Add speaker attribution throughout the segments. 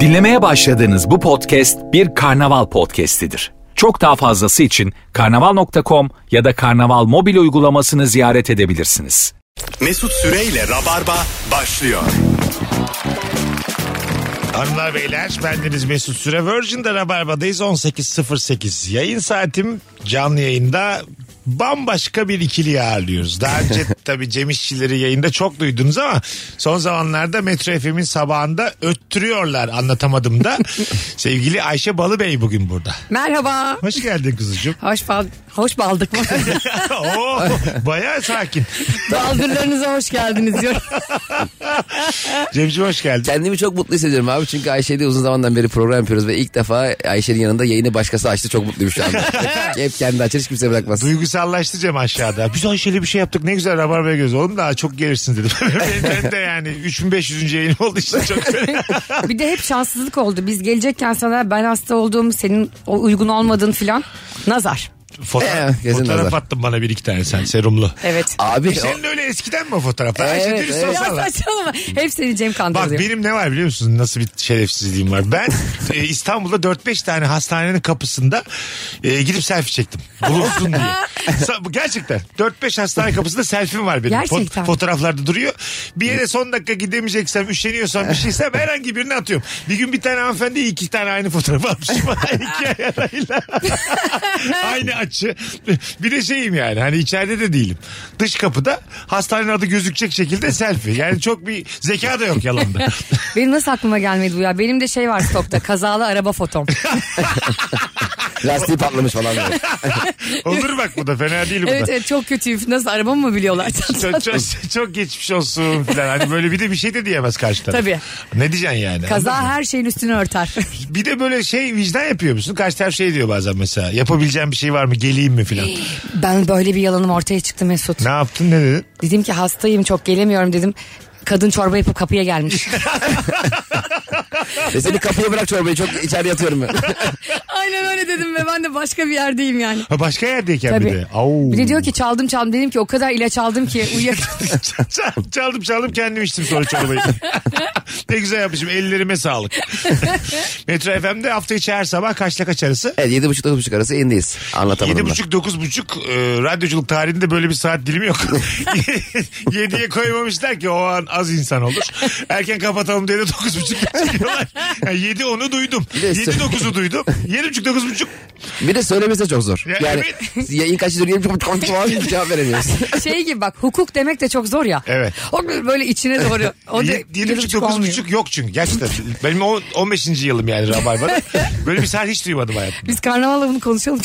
Speaker 1: Dinlemeye başladığınız bu podcast bir karnaval podcastidir. Çok daha fazlası için karnaval.com ya da karnaval mobil uygulamasını ziyaret edebilirsiniz.
Speaker 2: Mesut Süreyle Rabarba başlıyor.
Speaker 3: Hanımlar beyler bendeniz Mesut Süre Virgin'de Rabarba'dayız 18.08 yayın saatim canlı yayında bambaşka bir ikili ağırlıyoruz. Daha önce tabii Cem İşçileri yayında çok duydunuz ama son zamanlarda Metro FM'in sabahında öttürüyorlar anlatamadım da. Sevgili Ayşe Balıbey bugün burada.
Speaker 4: Merhaba.
Speaker 3: Hoş geldin kuzucuğum.
Speaker 4: Hoş, bal hoş baldık mı?
Speaker 3: Oo, bayağı sakin.
Speaker 4: Baldırlarınıza hoş geldiniz diyor.
Speaker 3: Cemciğim hoş geldin.
Speaker 5: Kendimi çok mutlu hissediyorum abi çünkü Ayşe'yle uzun zamandan beri program yapıyoruz ve ilk defa Ayşe'nin yanında yayını başkası açtı çok mutluyum şu anda. hep, hep kendi açar hiç kimse bırakmaz.
Speaker 3: Duygusallaştı Cem aşağıda. Biz Ayşe'yle bir şey yaptık ne güzel rabarbaya göz. Oğlum daha çok gelirsin dedim. Benim de yani 3500. yayınım oldu işte çok.
Speaker 4: Bir de hep şanssızlık oldu. Biz gelecekken sana ben hasta olduğum, senin o uygun olmadığın filan. Nazar.
Speaker 3: Fotoğraf,
Speaker 5: Eh, gezin
Speaker 3: fotoğraf
Speaker 5: nazar.
Speaker 3: attın bana bir iki tane sen serumlu.
Speaker 4: Evet.
Speaker 5: Abi o-
Speaker 3: Senin öyle eskiden mi o fotoğraflar? Ayşe
Speaker 5: Evet,
Speaker 3: dürüst
Speaker 5: evet.
Speaker 4: Ya
Speaker 3: olsana.
Speaker 4: saçmalama. Hep seni Cem
Speaker 3: şey Bak
Speaker 4: kandırıyor.
Speaker 3: benim ne var biliyor musun? Nasıl bir şerefsizliğim var. Ben e, İstanbul'da 4-5 tane hastanenin kapısında e, gidip selfie çektim. Bulunsun diye. Sa- bu Gerçekten 4-5 hastane kapısında selfie'm var benim. Fo-
Speaker 4: Gerçekten.
Speaker 3: fotoğraflarda duruyor. Bir yere son dakika gidemeyeceksem, üşeniyorsam bir şeysem herhangi birini atıyorum. Bir gün bir tane hanımefendi iki tane aynı fotoğraf almışım. iki ayarıyla. aynı açı. Bir de şeyim yani hani içeride de değilim. Dış kapıda hastanenin adı gözükecek şekilde selfie. Yani çok bir zeka da yok yalanda.
Speaker 4: Benim nasıl aklıma gelmedi bu ya? Benim de şey var stokta. Kazalı araba fotom.
Speaker 5: lastiği patlamış falan. diyor.
Speaker 3: Olur bak bu da fena değil bu
Speaker 4: evet
Speaker 3: da.
Speaker 4: evet çok kötü. Nasıl arabamı mı biliyorlar?
Speaker 3: Çok, çok, çok geçmiş olsun falan. Hani böyle bir de bir şey de diyemez karşı taraf.
Speaker 4: Tabii.
Speaker 3: Ne diyeceksin yani?
Speaker 4: Kaza her şeyin üstünü örter.
Speaker 3: Bir de böyle şey vicdan yapıyor musun? Karşı taraf şey diyor bazen mesela. Yapabileceğim bir şey var mı? Geleyim mi falan.
Speaker 4: ben böyle bir yalanım ortaya çıktı Mesut.
Speaker 3: ne yaptın ne dedin?
Speaker 4: Dedim ki hastayım çok gelemiyorum dedim. Kadın çorba yapıp kapıya gelmiş.
Speaker 5: Ve seni kapıya bırak çorbayı çok içeride yatıyorum ben.
Speaker 4: Aynen öyle dedim ve ben de başka bir yerdeyim yani.
Speaker 3: Ha, başka yerdeyken bir
Speaker 4: Tabii.
Speaker 3: de. Au.
Speaker 4: Bir de diyor ki çaldım çaldım dedim ki o kadar ilaç aldım ki uyuyakaldım.
Speaker 3: Çal- çaldım çaldım kendim içtim sonra çorbayı. ne güzel yapmışım ellerime sağlık. Metro FM'de hafta içi her sabah kaçla kaç arası?
Speaker 5: Evet yedi buçuk dokuz buçuk arası yayındayız. Anlatamadım
Speaker 3: Yedi
Speaker 5: ben.
Speaker 3: buçuk dokuz buçuk e, radyoculuk tarihinde böyle bir saat dilimi yok. Yediye koymamışlar ki o an az insan olur. Erken kapatalım diye de dokuz buçuk çıkıyorlar. Yani yedi onu duydum.
Speaker 5: de
Speaker 3: Yedi
Speaker 5: sö-
Speaker 3: dokuzu duydum. Yedi buçuk dokuz buçuk.
Speaker 5: Bir de söylemesi de çok zor.
Speaker 3: Ya,
Speaker 5: yani yayın kaçıdır yedi buçuk dokuz falan diye cevap veremiyoruz.
Speaker 4: şey gibi bak hukuk demek de çok zor ya.
Speaker 3: Evet.
Speaker 4: O böyle içine doğru. O da
Speaker 3: Ye- Yedi buçuk dokuz
Speaker 4: olmuyor.
Speaker 3: buçuk yok çünkü gerçekten. Benim o 15. yılım yani Rabarba'da. Böyle bir saat hiç duymadım hayatımda.
Speaker 4: Biz karnavalda bunu konuşalım.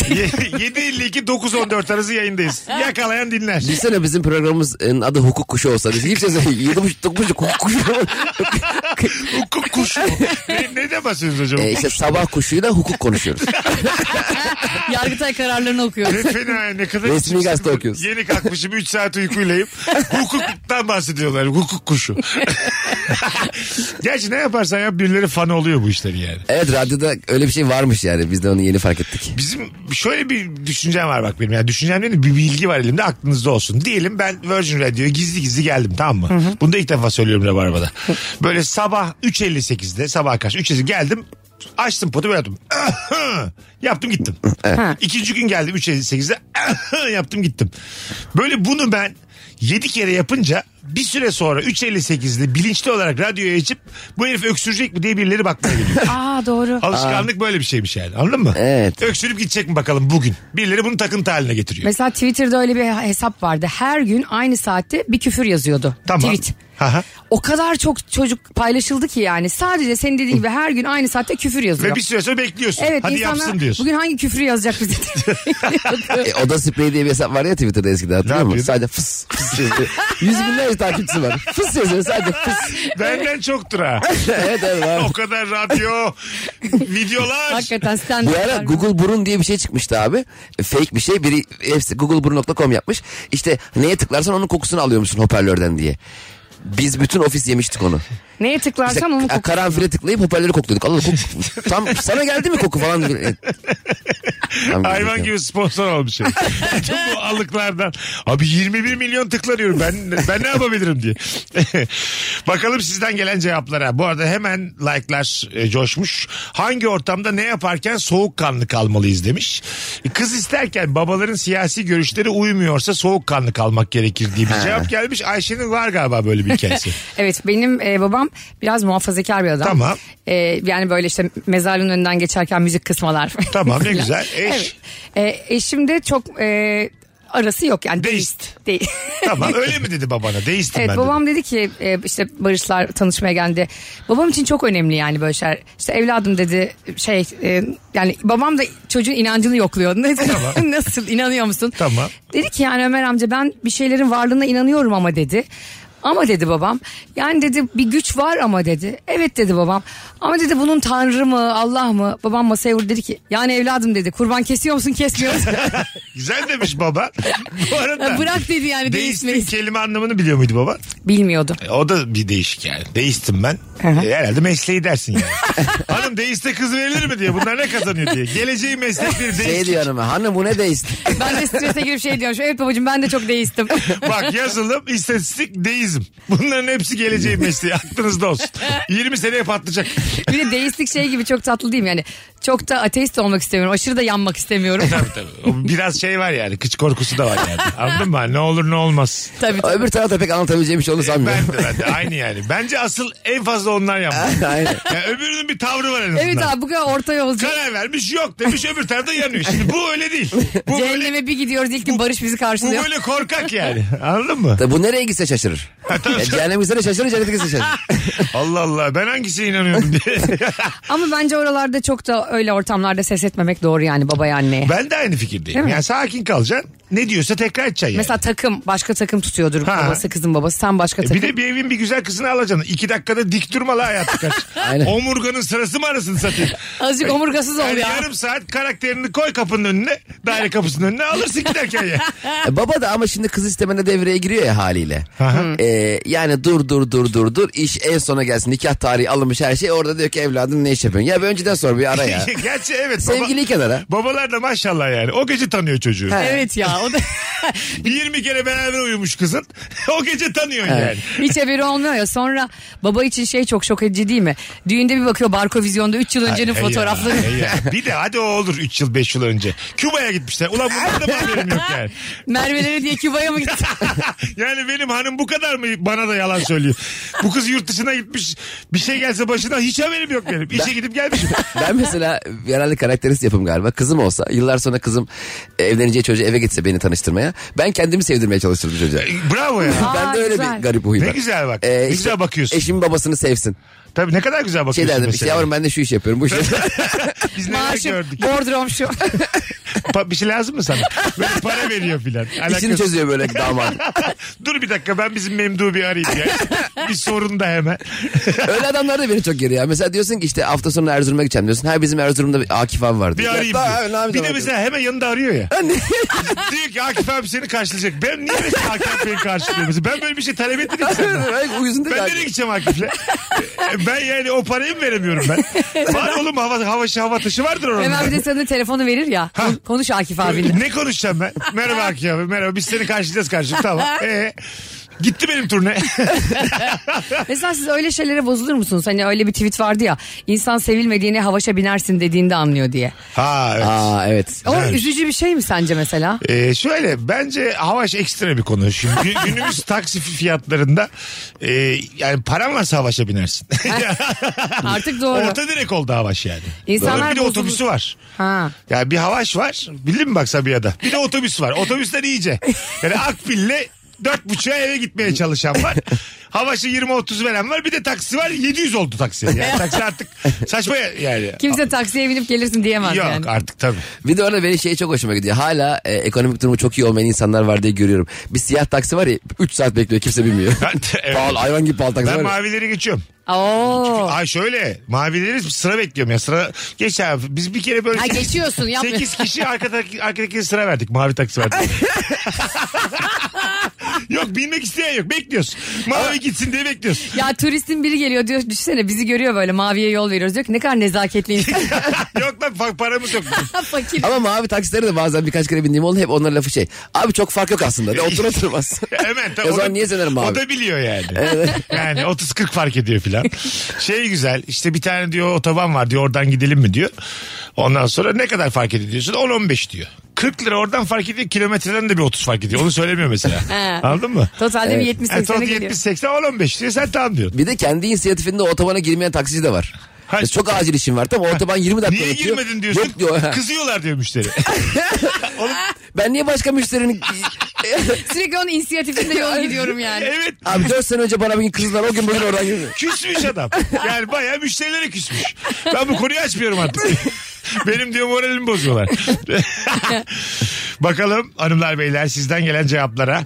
Speaker 3: 7.52-9.14 arası yayındayız. Yakalayan dinler.
Speaker 5: Düşünsene bizim programımızın adı hukuk kuşu olsa. Biz kimse söyleyeyim. Yedi buçuk dokuz buçuk hukuk kuşu.
Speaker 3: Hukuk kuşu. ne, ne de basıyorsunuz hocam?
Speaker 5: e, işte sabah kuşuyla hukuk konuşuyoruz.
Speaker 4: Yargıtay kararlarını
Speaker 3: Ne
Speaker 4: okuyoruz.
Speaker 3: fena ne kadar...
Speaker 5: Resmi
Speaker 3: küçüksün.
Speaker 5: gazete okuyoruz.
Speaker 3: Yeni kalkmışım 3 saat uykuyleyim. Hukuktan bahsediyorlar. Hukuk kuşu. Gerçi ne yaparsan yap birileri fan oluyor bu işleri yani.
Speaker 5: Evet radyoda öyle bir şey varmış yani. Biz de onu yeni fark ettik.
Speaker 3: Bizim şöyle bir düşüncem var bak benim. Yani düşüncem değil de bir bilgi var elimde aklınızda olsun. Diyelim ben Virgin Radio'ya gizli gizli geldim tamam mı? Bunu da ilk defa söylüyorum Rabarba'da. Böyle sabah 3.58'de sabah kaç 3.58 geldim. Açtım potu böyle yaptım. yaptım gittim. İkinci gün geldim 3.58'de yaptım gittim. Böyle bunu ben 7 kere yapınca bir süre sonra 3.58'de bilinçli olarak radyoya açıp bu herif öksürecek mi diye birileri bakmaya geliyor.
Speaker 4: Aa doğru.
Speaker 3: Alışkanlık böyle bir şeymiş yani anladın mı?
Speaker 5: Evet.
Speaker 3: Öksürüp gidecek mi bakalım bugün? Birileri bunu takıntı haline getiriyor.
Speaker 4: Mesela Twitter'da öyle bir hesap vardı. Her gün aynı saatte bir küfür yazıyordu.
Speaker 3: tamam.
Speaker 4: Tweet.
Speaker 3: Aha.
Speaker 4: O kadar çok çocuk paylaşıldı ki yani. Sadece senin dediğin gibi her gün aynı saatte küfür yazıyor.
Speaker 3: Ve bir süre sonra bekliyorsun.
Speaker 4: Evet
Speaker 3: Hadi
Speaker 4: insanlar
Speaker 3: yapsın diyorsun.
Speaker 4: bugün hangi küfrü yazacak bize
Speaker 5: E, oda spreyi diye bir hesap var ya Twitter'da eskiden hatırlıyor
Speaker 3: yapıyordu?
Speaker 5: musun? Sadece fıs fıs yazıyor. Yüz binlerce takipçisi var. Fıs yazıyor sadece fıs.
Speaker 3: Benden çoktur ha.
Speaker 5: evet evet var.
Speaker 3: o kadar radyo, videolar.
Speaker 4: Hakikaten stand
Speaker 5: Bu ara Google Burun diye bir şey çıkmıştı abi. E, Fake bir şey. Biri hepsi googleburun.com yapmış. İşte neye tıklarsan onun kokusunu alıyormuşsun hoparlörden diye. Biz bütün ofis yemiştik onu.
Speaker 4: Neye
Speaker 5: İşte
Speaker 4: tıklarsam onun
Speaker 5: ka-
Speaker 4: kokusu.
Speaker 5: karanfile tıklayıp hoparlörü kokluyorduk. Allah kok- tam sana geldi mi koku falan. Tam
Speaker 3: Hayvan
Speaker 5: gözüküyor.
Speaker 3: gibi sponsor olmuş. herif. Bütün bu alıklardan. Abi 21 milyon tıklanıyorum ben ben ne yapabilirim diye. Bakalım sizden gelen cevaplara. Bu arada hemen like'lar e, coşmuş. Hangi ortamda ne yaparken soğukkanlı kalmalıyız demiş. E, Kız isterken babaların siyasi görüşleri uymuyorsa soğukkanlı kalmak gerekir diye bir cevap gelmiş. Ayşe'nin var galiba böyle bir hikayesi.
Speaker 4: Evet benim e, babam biraz muhafazakar bir adam.
Speaker 3: Tamam.
Speaker 4: E, yani böyle işte mezarlığın önünden geçerken müzik kısmalar.
Speaker 3: tamam ne güzel. Eş.
Speaker 4: Evet. E, eşim de çok e, arası yok yani.
Speaker 3: Deist.
Speaker 4: Değil.
Speaker 3: Tamam öyle mi dedi babana? Değiştim
Speaker 4: Evet
Speaker 3: ben
Speaker 4: babam dedi ki e, işte Barışlar tanışmaya geldi. Babam için çok önemli yani böyle şeyler. İşte evladım dedi şey e, yani babam da çocuğun inancını yokluyor. Ne- Nasıl inanıyor musun?
Speaker 3: Tamam.
Speaker 4: Dedi ki yani Ömer amca ben bir şeylerin varlığına inanıyorum ama dedi. Ama dedi babam yani dedi bir güç var ama dedi. Evet dedi babam. Ama dedi bunun tanrı mı Allah mı? Babam masaya vurdu dedi ki yani evladım dedi kurban kesiyor musun kesmiyor musun?
Speaker 3: dedi. Güzel demiş baba. Bu arada.
Speaker 4: Bırak dedi yani
Speaker 3: Deistin
Speaker 4: değişmeyiz.
Speaker 3: kelime anlamını biliyor muydu baba?
Speaker 4: Bilmiyordu.
Speaker 3: E, O da bir değişik yani. Deistim ben.
Speaker 4: hı.
Speaker 3: E, herhalde mesleği dersin yani. Hanım deiste kız verilir mi diye. Bunlar ne kazanıyor diye. Geleceği meslekleri
Speaker 5: Şey
Speaker 3: deist.
Speaker 5: diyor hanıma hanım bu ne deist.
Speaker 4: Ben de strese girip şey diyorum. Evet babacığım ben de çok değiştim.
Speaker 3: Bak yazılım, istatistik, deizm. Bunların hepsi geleceği mesleği. Aklınızda olsun. 20 seneye patlayacak.
Speaker 4: bir de deistlik şey gibi çok tatlı değil mi? Yani çok da ateist olmak istemiyorum. Aşırı da yanmak istemiyorum.
Speaker 3: Tabii tabii. O Biraz şey var yani. Kıç korkusu da var yani. Anladın mı? Ne olur ne olmaz.
Speaker 4: tabii tabii.
Speaker 5: Öbür tarafta pek anlatabileceğim bir şey olduğunu sanmıyorum.
Speaker 3: Ben de, ben de. Aynı yani. Bence asıl en fazla onlar yapmalı.
Speaker 5: Aynen.
Speaker 3: Yani öbürünün bir tavrı var en azından.
Speaker 4: Evet abi bu kadar orta yolcu.
Speaker 3: Karar vermiş yok demiş öbür tarafta yanıyor. Şimdi bu öyle değil. Bu böyle
Speaker 4: Cehenneme bir gidiyoruz ilk gün Barış bizi
Speaker 3: Bu
Speaker 4: karşılıyor.
Speaker 3: böyle korkak yani. Anladın mı?
Speaker 5: Tabii E, bu nereye gitse şaşırır. Ya Cehennem gitse de şaşırır, cennete gitse şaşırır.
Speaker 3: Allah Allah ben hangisine inanıyorum diye.
Speaker 4: Ama bence oralarda çok da öyle ortamlarda ses etmemek doğru yani babaya anneye.
Speaker 3: ben de aynı fikirdeyim.
Speaker 4: Değil mi?
Speaker 3: Yani sakin kalacaksın. Ne diyorsa tekrar edeceksin yani.
Speaker 4: Mesela takım başka takım tutuyordur
Speaker 3: Ha.
Speaker 4: babası kızın babası sen başka
Speaker 3: E
Speaker 4: takım.
Speaker 3: bir de bir evin bir güzel kızını alacaksın. İki dakikada dik durma la hayatı kaç.
Speaker 5: Aynen.
Speaker 3: Omurganın sırası mı arasını satayım?
Speaker 4: Azıcık omurgasız ol
Speaker 3: Yani
Speaker 4: ya.
Speaker 3: yarım saat karakterini koy kapının önüne. Daire kapısının önüne alırsın giderken ya.
Speaker 5: E, Baba da ama şimdi kız istemene devreye giriyor ya haliyle. E, yani dur dur dur dur dur iş en sona gelsin nikah tarihi alınmış her şey orada diyor ki evladım ne iş yapıyorsun? Ya bir önceden sor bir ara ya.
Speaker 3: Gerçi evet. baba-
Speaker 5: Sevgili kenara.
Speaker 3: Babalar da maşallah yani. O gece tanıyor çocuğu.
Speaker 4: Evet ya o da
Speaker 3: 20 kere beraber uyumuş kızın. o gece tanıyor yani.
Speaker 4: Hiç haberi olmuyor ya. Sonra baba için şey çok şok edici değil mi? Düğünde bir bakıyor Barko Vizyon'da 3 yıl öncenin
Speaker 3: Hey ya,
Speaker 4: fotoğrafları.
Speaker 3: hey ya. Bir de hadi o olur 3 yıl 5 yıl önce. Küba'ya gitmişler. Ulan bundan da mı haberim yok yani.
Speaker 4: Merve'lere diye Küba'ya mı gitti?
Speaker 3: yani benim hanım bu kadar mı bana da yalan söylüyor. Bu kız yurt dışına gitmiş. Bir şey gelse başına hiç haberim yok benim. İşe gidip gelmişim.
Speaker 5: Ben mesela herhalde karakterist yapım galiba. Kızım olsa yıllar sonra kızım e, evleneceği çocuğa eve gitse beni tanıştırmaya. Ben kendimi sevdirmeye çalışırdım çocuğa.
Speaker 3: Bravo ya.
Speaker 4: Aa,
Speaker 5: ben de öyle
Speaker 4: güzel.
Speaker 5: bir garip huyum
Speaker 3: Ne
Speaker 5: var.
Speaker 3: güzel bak. Ne güzel bakıyorsun.
Speaker 5: Eşim babasını sevsin.
Speaker 3: Tabii ne kadar güzel
Speaker 5: Şey
Speaker 3: bakıyorsun
Speaker 5: derdim işte
Speaker 3: mesela.
Speaker 5: yavrum ben de şu iş yapıyorum bu işi.
Speaker 3: Biz neler
Speaker 4: Maaşım,
Speaker 3: gördük.
Speaker 4: bordrom şu.
Speaker 3: Pa- bir şey lazım mı sana? Böyle para veriyor filan.
Speaker 5: İşini
Speaker 3: Alakası-
Speaker 5: çözüyor böyle damat.
Speaker 3: Dur bir dakika ben bizim Memduh'u bir arayayım ya. bir sorun da hemen.
Speaker 5: Öyle adamlar da beni çok geriyor. Mesela diyorsun ki işte hafta sonu Erzurum'a gideceğim diyorsun. Ha bizim Erzurum'da bir Akif abi vardı.
Speaker 3: Bir arayayım
Speaker 5: Ya,
Speaker 3: diyor.
Speaker 5: abi, ne yapacağım
Speaker 3: Bir de
Speaker 5: abi?
Speaker 3: mesela hemen yanında arıyor ya. diyor ki Akif abi seni karşılayacak. Ben niye mesela Akif Bey'i karşılıyorum? Mesela Ben böyle bir şey talep etmedim ki senden.
Speaker 5: Ay, uyusun da
Speaker 3: Ben
Speaker 5: geldi.
Speaker 3: nereye gideceğim Akif'le? E, ben yani o parayı mı veremiyorum ben? Var oğlum hava, hava, hava taşı vardır orada.
Speaker 4: Ömer bir de sana telefonu verir ya. Konuş Akif abinle.
Speaker 3: ne konuşacağım ben? Merhaba Akif abi merhaba biz seni karşılayacağız karşım tamam. Ee, gitti benim turne.
Speaker 4: Mesela siz öyle şeylere bozulur musunuz? Hani öyle bir tweet vardı ya. İnsan sevilmediğini havaşa binersin dediğinde anlıyor diye.
Speaker 3: ha evet.
Speaker 5: Aa evet.
Speaker 4: O
Speaker 3: Evet.
Speaker 4: üzücü bir şey mi sence mesela?
Speaker 3: Ee, şöyle bence havaş ekstra bir konu. Şimdi gü- günümüz taksi fiyatlarında e, yani paran varsa havaşa binersin.
Speaker 4: Artık doğru.
Speaker 3: Orta direk oldu havaş yani.
Speaker 4: İnsanlar
Speaker 3: Doğru. bir de
Speaker 4: bozulur.
Speaker 3: otobüsü var.
Speaker 4: Ha.
Speaker 3: Yani bir havaş var. Bildin mi bak Sabiha'da? Bir de otobüs var. Otobüsler iyice. Yani Akbil'le dört buçuğa eve gitmeye çalışan var. Havaşı 20-30 veren var. Bir de taksi var. 700 oldu taksi. Yani taksi artık saçma yani.
Speaker 4: Kimse taksiye binip gelirsin diyemez
Speaker 3: Yok
Speaker 4: yani.
Speaker 3: artık tabii.
Speaker 5: Bir de orada benim şey çok hoşuma gidiyor. Hala e, ekonomik durumu çok iyi olmayan insanlar var diye görüyorum. Bir siyah taksi var ya 3 saat bekliyor kimse bilmiyor.
Speaker 3: Evet.
Speaker 5: Pahalı hayvan gibi pahalı taksi
Speaker 3: Ben
Speaker 5: var. ya.
Speaker 3: mavileri geçiyorum.
Speaker 4: Oo.
Speaker 3: Ay şöyle mavileri sıra bekliyorum ya sıra geç abi biz bir kere böyle
Speaker 4: Ha,
Speaker 3: sekiz-
Speaker 4: geçiyorsun, yapmıyor.
Speaker 3: sekiz kişi arkadaki, arkadaki sıra verdik mavi taksi verdik. yok bilmek isteyen yok. Bekliyoruz. Mavi gitsin diye bekliyoruz.
Speaker 4: Ya turistin biri geliyor diyor düşünsene bizi görüyor böyle maviye yol veriyoruz diyor ki ne kadar nezaketli insan
Speaker 3: yok lan fa- paramız yok.
Speaker 4: fakir.
Speaker 5: Ama mavi taksilere de bazen birkaç kere bindiğim oldu hep onlara lafı şey. Abi çok fark yok aslında. De otur oturmaz.
Speaker 3: Hemen tabii.
Speaker 5: o zaman
Speaker 3: da-
Speaker 5: niye sanırım
Speaker 3: O
Speaker 5: mavi?
Speaker 3: da biliyor yani. Yani 30-40 fark ediyor filan. Şey güzel işte bir tane diyor otoban var diyor oradan gidelim mi diyor. Ondan sonra ne kadar fark ediyor diyorsun 10-15 diyor. 40 lira oradan fark ediyor kilometreden de bir 30 fark ediyor. Onu söylemiyor mesela. Anladın mı?
Speaker 4: Totalde bir 70
Speaker 3: Yani
Speaker 4: 80'e geliyor.
Speaker 3: 70-80 15 diyor sen tamam diyorsun.
Speaker 5: Bir de kendi inisiyatifinde otobana girmeyen taksici de var.
Speaker 3: Ha,
Speaker 5: Ya çok acil işim var. Tamam otoban 20 dakika
Speaker 3: Niye
Speaker 5: geçiyor.
Speaker 3: girmedin diyorsun.
Speaker 5: Yok diyor.
Speaker 3: Kızıyorlar diyor müşteri.
Speaker 5: Ben niye başka müşterinin...
Speaker 4: Sürekli onun inisiyatifinde yol gidiyorum yani.
Speaker 3: evet.
Speaker 5: Abi 4 sene önce bana bir gün kızdılar o gün bugün oradan girmiyor.
Speaker 3: Küsmüş adam. Yani bayağı müşterilere küsmüş. Ben bu konuyu açmıyorum artık. Benim diyor moralimi bozuyorlar. Bakalım hanımlar beyler sizden gelen cevaplara.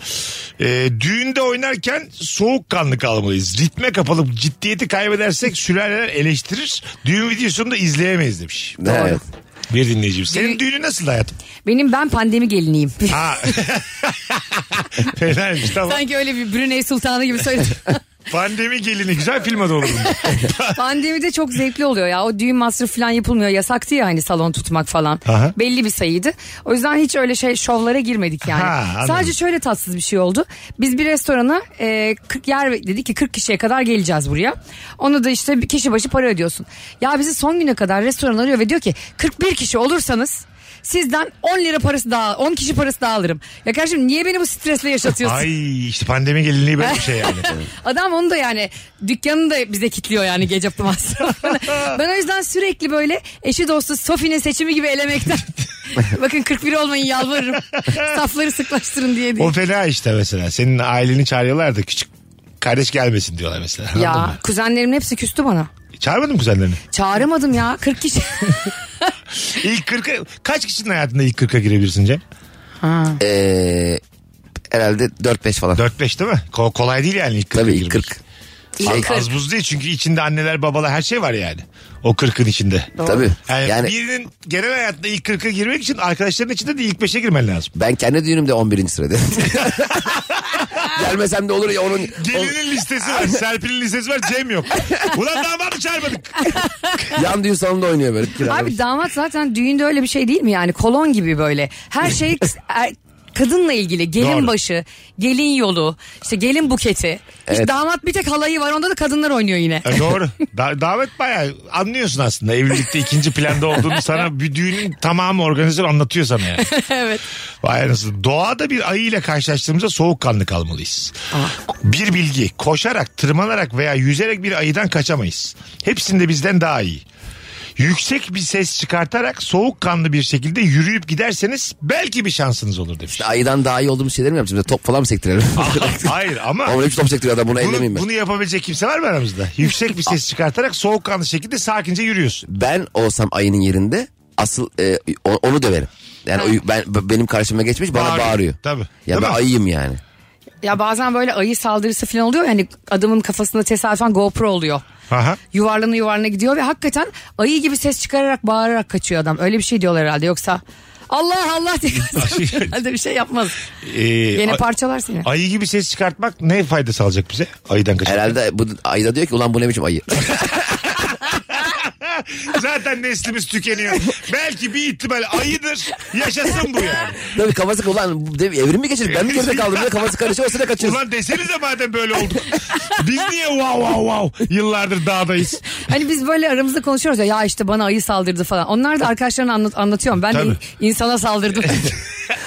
Speaker 3: Ee, düğünde oynarken soğukkanlı kalmalıyız. Ritme kapılıp ciddiyeti kaybedersek sülaleler eleştirir. Düğün videosunu da izleyemeyiz demiş.
Speaker 5: Evet.
Speaker 3: Bir dinleyicim. Senin
Speaker 4: Düğün-
Speaker 3: düğünün nasıl hayatım?
Speaker 4: Benim ben pandemi geliniyim.
Speaker 3: Ha. Fenaymış tamam.
Speaker 4: Sanki öyle bir Brunei Sultanı gibi söyledim.
Speaker 3: Pandemi gelini güzel filme doğru
Speaker 4: Pandemide çok zevkli oluyor ya. O düğün masrafı falan yapılmıyor. Yasaktı ya hani salon tutmak falan.
Speaker 3: Aha.
Speaker 4: Belli bir sayıydı. O yüzden hiç öyle şey şovlara girmedik yani.
Speaker 3: Ha, anladım.
Speaker 4: Sadece şöyle tatsız bir şey oldu. Biz bir restorana e, 40 yer dedi ki 40 kişiye kadar geleceğiz buraya. Onu da işte bir kişi başı para ödüyorsun. Ya bizi son güne kadar restoran arıyor ve diyor ki 41 kişi olursanız sizden 10 lira parası daha 10 kişi parası daha alırım. Ya kardeşim niye beni bu stresle yaşatıyorsun?
Speaker 3: Ay işte pandemi gelinliği böyle bir şey yani.
Speaker 4: Adam onu da yani dükkanını da bize kitliyor yani gece masrafını. ben o yüzden sürekli böyle eşi dostu Sofi'nin seçimi gibi elemekten. Bakın 41 olmayın yalvarırım. Safları sıklaştırın diye diye.
Speaker 3: O fena işte mesela. Senin aileni çağırıyorlar da küçük kardeş gelmesin diyorlar mesela. Anladın
Speaker 4: Ya
Speaker 3: mı?
Speaker 4: kuzenlerimin hepsi küstü bana.
Speaker 3: Çağırmadın mı kuzenlerini?
Speaker 4: Çağıramadım ya 40 kişi.
Speaker 3: İlk 40'a kaç kişinin hayatında ilk 40'a girebilirsin Cem?
Speaker 5: Ee, herhalde 4-5 falan.
Speaker 3: 4-5 değil mi? Ko- kolay değil yani ilk 40'a
Speaker 5: Tabii
Speaker 3: girmek.
Speaker 5: 40.
Speaker 3: Az,
Speaker 5: Şey,
Speaker 3: az buz değil çünkü içinde anneler babalar her şey var yani. O 40'ın içinde.
Speaker 5: tabii.
Speaker 3: Yani,
Speaker 5: yani
Speaker 3: birinin genel hayatta ilk 40'a girmek için arkadaşların içinde de ilk 5'e girmen lazım.
Speaker 5: Ben kendi düğünümde 11. sırada. Gelmesem de olur ya onun... o-
Speaker 3: Gelinin listesi var, Serpil'in listesi var, Cem yok. Ulan damadı çağırmadık.
Speaker 5: yan düğün salonunda oynuyor böyle. kiralamış.
Speaker 4: Abi damat zaten düğünde öyle bir şey değil mi yani kolon gibi böyle. Her şey er- kadınla ilgili gelin
Speaker 3: Doğru.
Speaker 4: başı, gelin yolu, işte gelin buketi. İşte
Speaker 5: Evet.
Speaker 4: damat bir tek halayı var onda da kadınlar oynuyor yine.
Speaker 3: E, doğru. Da- davet bayağı anlıyorsun aslında evlilikte ikinci planda olduğunu sana bir düğünün tamamı organizasyon anlatıyor sana yani.
Speaker 4: evet.
Speaker 3: Vay anasını. Doğada bir ayı ile karşılaştığımızda soğukkanlı kalmalıyız. Bir bilgi koşarak, tırmanarak veya yüzerek bir ayıdan kaçamayız. Hepsinde bizden daha iyi. Yüksek bir ses çıkartarak soğukkanlı bir şekilde yürüyüp giderseniz belki bir şansınız olur demiş.
Speaker 5: Ayıdan daha iyi olduğumuz şeyler mi yapacağım? Böyle Top falan mı sektirelim?
Speaker 3: Hayır ama
Speaker 5: Ama hiç top sektiriyor adam bunu ellemeyeyim
Speaker 3: bunu,
Speaker 5: ben.
Speaker 3: bunu yapabilecek kimse var mı aramızda? Yüksek bir ses çıkartarak soğukkanlı şekilde sakince yürüyorsun.
Speaker 5: Ben olsam ayının yerinde asıl e, o- onu döverim. Yani o- ben b- benim karşıma geçmiş bana
Speaker 3: Bağırıyor.
Speaker 5: bağırıyor.
Speaker 3: Tabii.
Speaker 5: Ya
Speaker 3: Değil
Speaker 5: ben
Speaker 3: mi?
Speaker 5: ayıyım yani.
Speaker 4: Ya bazen böyle ayı saldırısı falan oluyor. Yani adamın kafasında tesadüfen GoPro oluyor.
Speaker 3: Aha.
Speaker 4: Yuvarlana yuvarlana gidiyor ve hakikaten ayı gibi ses çıkararak bağırarak kaçıyor adam. Öyle bir şey diyorlar herhalde yoksa Allah Allah diye kaçıyor. herhalde bir şey yapmaz.
Speaker 3: Ee,
Speaker 4: Yine
Speaker 3: a-
Speaker 4: parçalar seni.
Speaker 3: ayı gibi ses çıkartmak ne fayda sağlayacak bize? Ayıdan kaçmak.
Speaker 5: Herhalde bu ayı da diyor ki ulan bu ne biçim ayı.
Speaker 3: Zaten neslimiz tükeniyor. Belki bir ihtimal ayıdır. Yaşasın bu yani.
Speaker 5: Tabii kafası ulan bu de- evrim mi geçirdik ben mi geride kaldım diye kafası karışıyor o sırada kaçıyoruz.
Speaker 3: Ulan desenize madem böyle olduk. Biz niye wow wow wow yıllardır dağdayız.
Speaker 4: Hani biz böyle aramızda konuşuyoruz ya, ya işte bana ayı saldırdı falan. Onlar da arkadaşlarına anlat anlatıyorum. Ben
Speaker 3: Tabii.
Speaker 4: de insana saldırdım.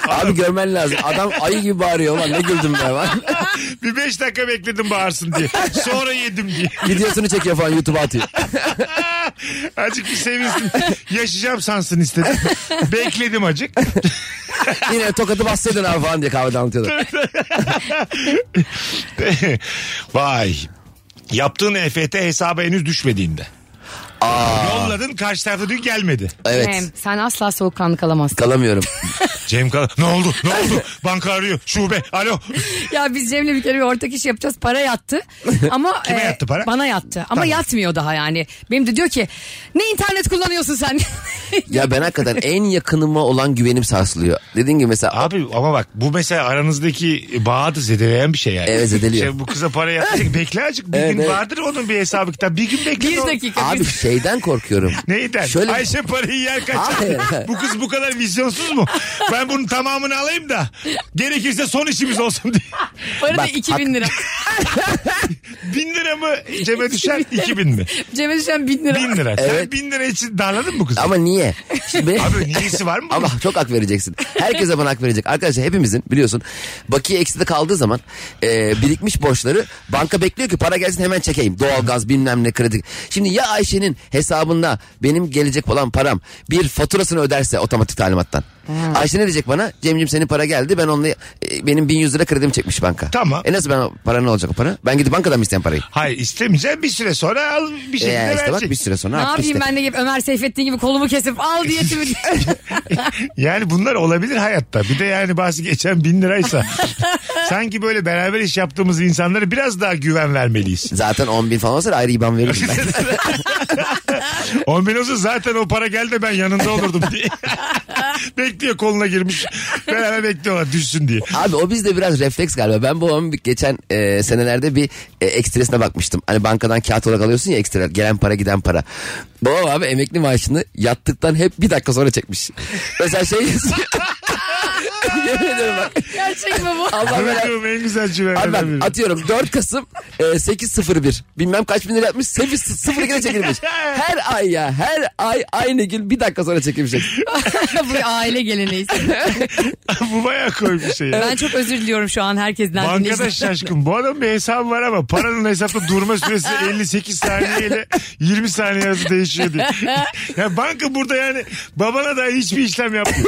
Speaker 5: Abi görmen lazım adam ayı gibi bağırıyor ulan ne güldüm ben. lan.
Speaker 3: Bir beş dakika bekledim bağırsın diye. Sonra yedim diye.
Speaker 5: Videosunu çekiyor falan YouTube'a atıyor.
Speaker 3: Acık bir sevinsin. Yaşayacağım sansın istedim. Bekledim acık.
Speaker 5: Yine tokatı bassaydın abi falan diye kahvede anlatıyorlar.
Speaker 3: Vay. Yaptığın EFT hesaba henüz düşmediğinde. Yolladın karşı tarafta dün gelmedi.
Speaker 5: Evet
Speaker 4: Em, Sen asla soğukkanlı kalamazsın.
Speaker 5: kalamıyorum.
Speaker 3: Cem Kara ne oldu ne oldu banka arıyor şube alo.
Speaker 4: Ya biz Cem'le bir kere bir ortak iş yapacağız. Para yattı. Ama e,
Speaker 3: Kime yattı para?
Speaker 4: Bana yattı. Ama
Speaker 3: Tamam.
Speaker 4: yatmıyor daha yani. Benim de diyor ki ne internet kullanıyorsun sen?
Speaker 5: Ya ben hakikaten en yakınıma olan güvenim sarsılıyor. Dediğin gibi mesela
Speaker 3: Abi ama bak bu mesela aranızdaki bağı da zedeleyen bir şey yani.
Speaker 5: Evet, zedeliyor.
Speaker 3: Şey, bu kıza para yatacak bekle azıcık bir
Speaker 5: Evet,
Speaker 3: gün
Speaker 5: evet.
Speaker 3: vardır onun bir hesabı kitap. Bir gün bekle.
Speaker 4: bir
Speaker 3: ne olur.
Speaker 4: dakika.
Speaker 5: abi
Speaker 4: biz-
Speaker 5: şeyden korkuyorum.
Speaker 3: Neyden?
Speaker 5: Şöyle-
Speaker 3: Ayşe parayı yer kaçar.
Speaker 5: Hayır.
Speaker 3: bu kız bu kadar vizyonsuz mu? Ben bunun tamamını alayım da gerekirse son işimiz olsun diye.
Speaker 4: Bu arada
Speaker 5: Bak,
Speaker 4: 2000 lira.
Speaker 3: Bin lira mı cebe düşer? iki bin mi?
Speaker 4: Cem'e düşen 1000 lira.
Speaker 3: Bin lira. Sen
Speaker 5: Evet.
Speaker 3: bin lira için darladın mı bu kızı?
Speaker 5: Ama niye? Şimdi benim-
Speaker 3: Abi niyesi var mı? bunun?
Speaker 5: Ama çok hak vereceksin. Herkese bana hak verecek. Arkadaşlar hepimizin biliyorsun bakiye ekside kaldığı zaman e, birikmiş borçları banka bekliyor ki para gelsin hemen çekeyim. Doğalgaz bilmem ne kredi. Şimdi ya Ayşe'nin hesabında benim gelecek olan param bir faturasını öderse otomatik talimattan.
Speaker 4: Hmm.
Speaker 5: Ayşe ne diyecek bana? Cemcim senin para geldi ben onunla e, benim 1100 lira kredim çekmiş banka.
Speaker 3: Tamam.
Speaker 5: E nasıl ben o para ne olacak o para? Ben gidip bankadan mı isteyeyim parayı?
Speaker 3: Hayır istemeyeceğim bir süre sonra al bir şekilde
Speaker 5: E, işte bak
Speaker 3: verecek.
Speaker 5: bir süre sonra
Speaker 4: Ne
Speaker 5: artık
Speaker 4: yapayım
Speaker 5: işte.
Speaker 4: ben de gibi Ömer Seyfettin gibi kolumu kesip al diyetimi.
Speaker 3: Yani bunlar olabilir hayatta. Bir de yani bahsi geçen bin liraysa. sanki böyle beraber iş yaptığımız insanlara biraz daha güven vermeliyiz.
Speaker 5: Zaten 10 bin falan olsa da ayrı IBAN veririm ben.
Speaker 3: On bin olsa zaten o para geldi de ben yanında olurdum diye. Bekliyor koluna girmiş. Beraber bekliyorlar düşsün diye.
Speaker 5: Abi o bizde biraz refleks galiba. Ben babamın bir- geçen e, senelerde bir e, ekstresine bakmıştım. Hani bankadan kağıt olarak alıyorsun ya ekstra gelen para giden para. Babam abi emekli maaşını yattıktan hep bir dakika sonra çekmiş. Mesela şey yazıyor. Yemin ediyorum bak.
Speaker 4: Gerçek mi bu?
Speaker 5: Allah belanı-
Speaker 3: Bırakıyorum en güzel
Speaker 5: Abi
Speaker 3: cümlelerden biri.
Speaker 5: bak atıyorum 4 Kasım e, 801 bilmem kaç bin lira yapmış 802'de çekilmiş. Her ay ya her ay aynı gün bir dakika sonra çekilmiş.
Speaker 4: bu bir aile geleneği.
Speaker 3: Bu bayağı koy bir şey. ya.
Speaker 4: Ben çok özür diliyorum şu an herkesten.
Speaker 3: Bankada
Speaker 4: dinleyicilerden.
Speaker 3: şaşkın. Bu adamın bir hesabı var ama paranın hesapta durma süresi 58 saniye ile 20 saniye arası değişiyor diye. Ya banka burada yani babana da hiçbir işlem yapmıyor.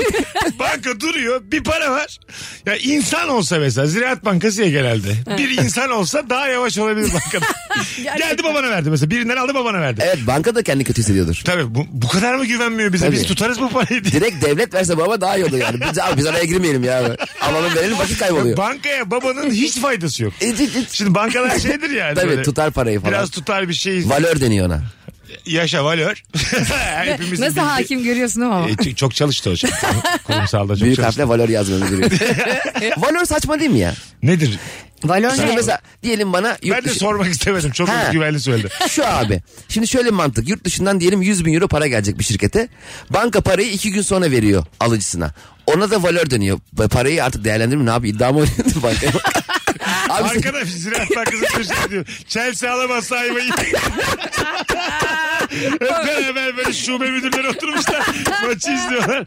Speaker 3: banka duruyor bir para var. Ya insan olsa mesela Ziraat Bankası ya genelde. Bir insan olsa daha yavaş olabilir bankada. Geldi babana verdi mesela birinden aldı babana verdi.
Speaker 5: Evet banka da kendini kötü hissediyordur.
Speaker 3: Tabii bu, bu kadar mı güvenmiyor bize? Biz
Speaker 5: Tabii.
Speaker 3: tutarız bu parayı diye.
Speaker 5: Direkt devlet verse baba daha iyi olur yani. Biz, abi biz araya girmeyelim ya. Alalım verelim vakit kayboluyor.
Speaker 3: Bankaya babanın hiç faydası yok.
Speaker 5: İç, iç, iç.
Speaker 3: Şimdi bankalar şeydir yani.
Speaker 5: Tabii,
Speaker 3: böyle.
Speaker 5: tutar parayı falan.
Speaker 3: Biraz tutar bir şey.
Speaker 5: Valör deniyor ona.
Speaker 3: Yaşa valör. Hepimizin
Speaker 4: Nasıl
Speaker 3: bildiği-
Speaker 4: hakim görüyorsun ama.
Speaker 3: E, ç- çok çalıştı hocam. Kurumsalda çok
Speaker 5: Büyük
Speaker 3: çalıştı.
Speaker 5: harfle valör yazmamız gerekiyor. valör saçma değil mi ya?
Speaker 3: Nedir?
Speaker 4: Valor
Speaker 5: Şimdi
Speaker 4: ne?
Speaker 5: mesela diyelim bana yurt
Speaker 3: Ben de
Speaker 5: dışı-
Speaker 3: sormak istemedim. Çok
Speaker 5: Ha.
Speaker 3: güvenli söyledi.
Speaker 5: Şu abi. Şimdi şöyle bir mantık. Yurt dışından diyelim 100 bin euro para gelecek bir şirkete. Banka parayı iki gün sonra veriyor alıcısına. Ona da valör dönüyor. Ba- Parayı artık değerlendirme ne yapayım iddia mı oynuyordu bankaya? abi sen-
Speaker 3: Arkada ziraat bankası peşinde şey diyor. Chelsea alamaz sahibi. Hep beraber böyle şube müdürleri oturmuşlar. Maçı izliyorlar.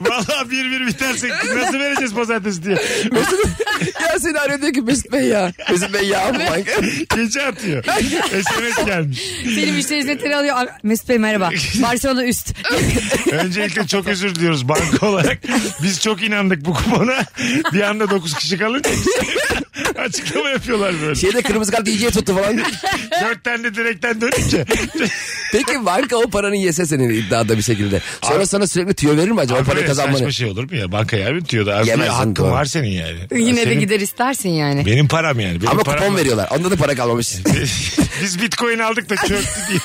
Speaker 3: Valla bir bir biterse nasıl vereceğiz pazartesi diye.
Speaker 5: ya seni arıyor diyor ki Mesut Bey ya. Mesut Bey ya bu banka.
Speaker 3: Gece atıyor. SMS gelmiş.
Speaker 4: Senin müşteri hizmetleri alıyor. Aa, Mesut Bey merhaba. Barcelona üst.
Speaker 3: Öncelikle çok özür diliyoruz banka olarak. Biz çok inandık bu kupona. Bir anda 9 kişi kalınca biz- açıklama yapıyorlar böyle.
Speaker 5: Şeyde kırmızı kart iyice tuttu falan.
Speaker 3: Dört tane direkten dönünce.
Speaker 5: Peki banka o paranı yese senin iddiada bir şekilde. Sonra sana sürekli tüyo verir mi acaba
Speaker 3: Abi
Speaker 5: parayı
Speaker 3: böyle
Speaker 5: kazanmanı?
Speaker 3: saçma şey olur mu ya? Banka yer bitiyor da. Abi
Speaker 5: Yemezsin,
Speaker 3: hakkın
Speaker 5: doğru.
Speaker 3: var senin yani.
Speaker 4: Yine de
Speaker 3: Senin-
Speaker 4: gider istersin yani.
Speaker 3: Benim param yani. Benim
Speaker 5: Ama
Speaker 3: param
Speaker 5: kupon
Speaker 3: var.
Speaker 5: veriyorlar. Onda da para kalmamış.
Speaker 3: Biz bitcoin aldık da çöktü diye.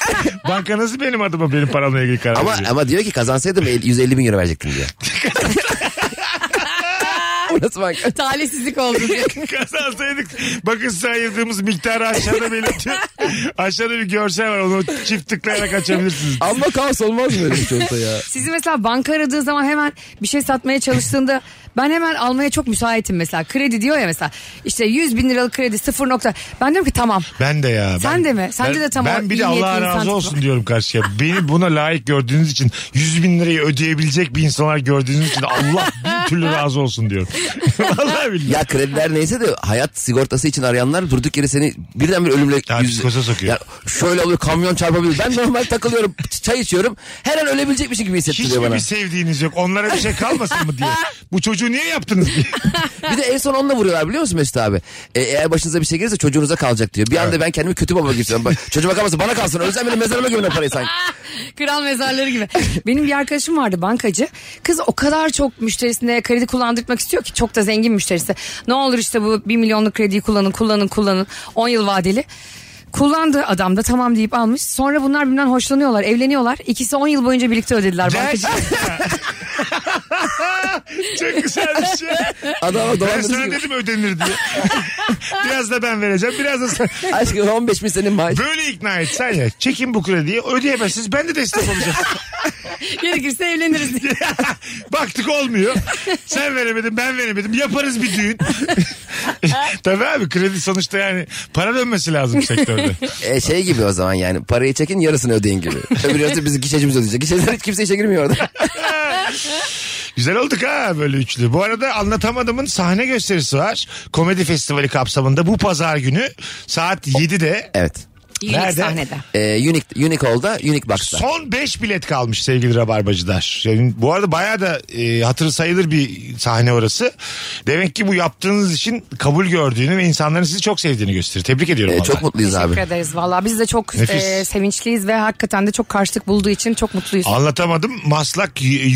Speaker 3: Banka nasıl benim adıma benim paramla ilgili karar
Speaker 5: ama
Speaker 3: veriyor?
Speaker 5: ama diyor ki kazansaydım el- 150 bin euro verecektim diyor. o nasıl banka?
Speaker 4: Talihsizlik oldu diye.
Speaker 3: Kazansaydık bakın size ayırdığımız miktarı aşağıda belirtiyor. aşağıda bir görsel var onu çift tıklayarak açabilirsiniz.
Speaker 5: Ama kaos olmaz mı öyle bir şey olsa ya?
Speaker 4: Sizi mesela banka aradığı zaman hemen bir şey satmaya çalıştığında ben hemen almaya çok müsaitim mesela. Kredi diyor ya mesela işte 100 bin liralık kredi 0 nokta. Ben diyorum ki tamam.
Speaker 3: Ben de ya.
Speaker 4: Sen
Speaker 3: ben-
Speaker 4: de mi? Sence
Speaker 3: ben,
Speaker 4: de tam
Speaker 3: Ben bir
Speaker 4: o
Speaker 3: de
Speaker 4: iyi niyetli
Speaker 3: Allah
Speaker 4: insan
Speaker 3: razı
Speaker 4: tipi
Speaker 3: olsun diyorum karşıya. Beni buna layık gördüğünüz için 100 bin lirayı ödeyebilecek bir insanlar gördüğünüz için Allah bin türlü razı olsun diyorum. Vallahi billahi.
Speaker 5: Ya krediler neyse de hayat sigortası için arayanlar durduk yere seni birden bir ölümle
Speaker 3: Ya psikoza sokuyor.
Speaker 5: Ya şöyle oluyor kamyon çarpabilir. Ben normal takılıyorum çay içiyorum. Her an ölebilecekmişim gibi
Speaker 3: Hiç
Speaker 5: hissettiriyor
Speaker 3: mi
Speaker 5: bana.
Speaker 3: bir sevdiğiniz yok? Onlara bir şey kalmasın mı diye. Bu çocuğu niye yaptınız diye.
Speaker 5: Bir de en son onunla vuruyorlar biliyor musun Mesut abi? E, eğer başınıza bir şey gelirse çocuğunuza kalacak diyor. Bir anda ben kendimi kötü baba gibi hissediyorum. Bak, Çocuğuma kalmasın bana kalsın. Ölsem bile mezarıma gömün o parayı sanki.
Speaker 4: Kral mezarları gibi. Benim bir arkadaşım vardı bankacı. Kız o kadar çok müşterisine kredi kullandırmak istiyor ki çok da zengin müşterisi. Ne olur işte bu 1 milyonluk krediyi kullanın kullanın kullanın 10 yıl vadeli. Kullandı adam da tamam deyip almış. Sonra bunlar birbirinden hoşlanıyorlar, evleniyorlar. İkisi 10 yıl boyunca birlikte ödediler bankacı.
Speaker 3: Gerçekten. Çok güzel bir şey.
Speaker 5: Adama
Speaker 3: Ben sana
Speaker 5: dolandırıcı.
Speaker 3: dedim ödenir diye. biraz da ben vereceğim. Biraz da sen.
Speaker 5: Aşkım 15 bin senin maaş.
Speaker 3: Böyle ikna etsen ya. Çekin bu krediyi. Ödeyemezsiniz. Ben de destek olacağım.
Speaker 4: Gerekirse evleniriz diye.
Speaker 3: Baktık olmuyor. Sen veremedin ben veremedim. Yaparız bir düğün. Tabii abi kredi sonuçta yani para dönmesi lazım sektörde.
Speaker 5: E, şey gibi o zaman yani parayı çekin yarısını ödeyin gibi. Öbür yarısı bizim gişecimiz ödeyecek. Gişeciler hiç kimse işe girmiyor orada.
Speaker 3: Güzel olduk ha böyle üçlü. Bu arada Anlatamadım'ın sahne gösterisi var. Komedi Festivali kapsamında bu pazar günü saat 7'de.
Speaker 5: evet.
Speaker 4: Yürüyüş
Speaker 3: Nerede?
Speaker 4: sahnede.
Speaker 5: E, Unique, Unique Hall'da Unique Box'ta.
Speaker 3: Son 5 bilet kalmış sevgili Rabarbacılar. Yani bu arada bayağı da e, hatırı sayılır bir sahne orası. Demek ki bu yaptığınız için kabul gördüğünü ve insanların sizi çok sevdiğini gösterir. Tebrik ediyorum.
Speaker 5: E,
Speaker 3: vallahi.
Speaker 5: çok mutluyuz abi.
Speaker 4: Teşekkür ederiz valla. Biz de çok
Speaker 3: Nefis.
Speaker 4: e, sevinçliyiz ve hakikaten de çok karşılık bulduğu için çok mutluyuz.
Speaker 3: Anlatamadım. Maslak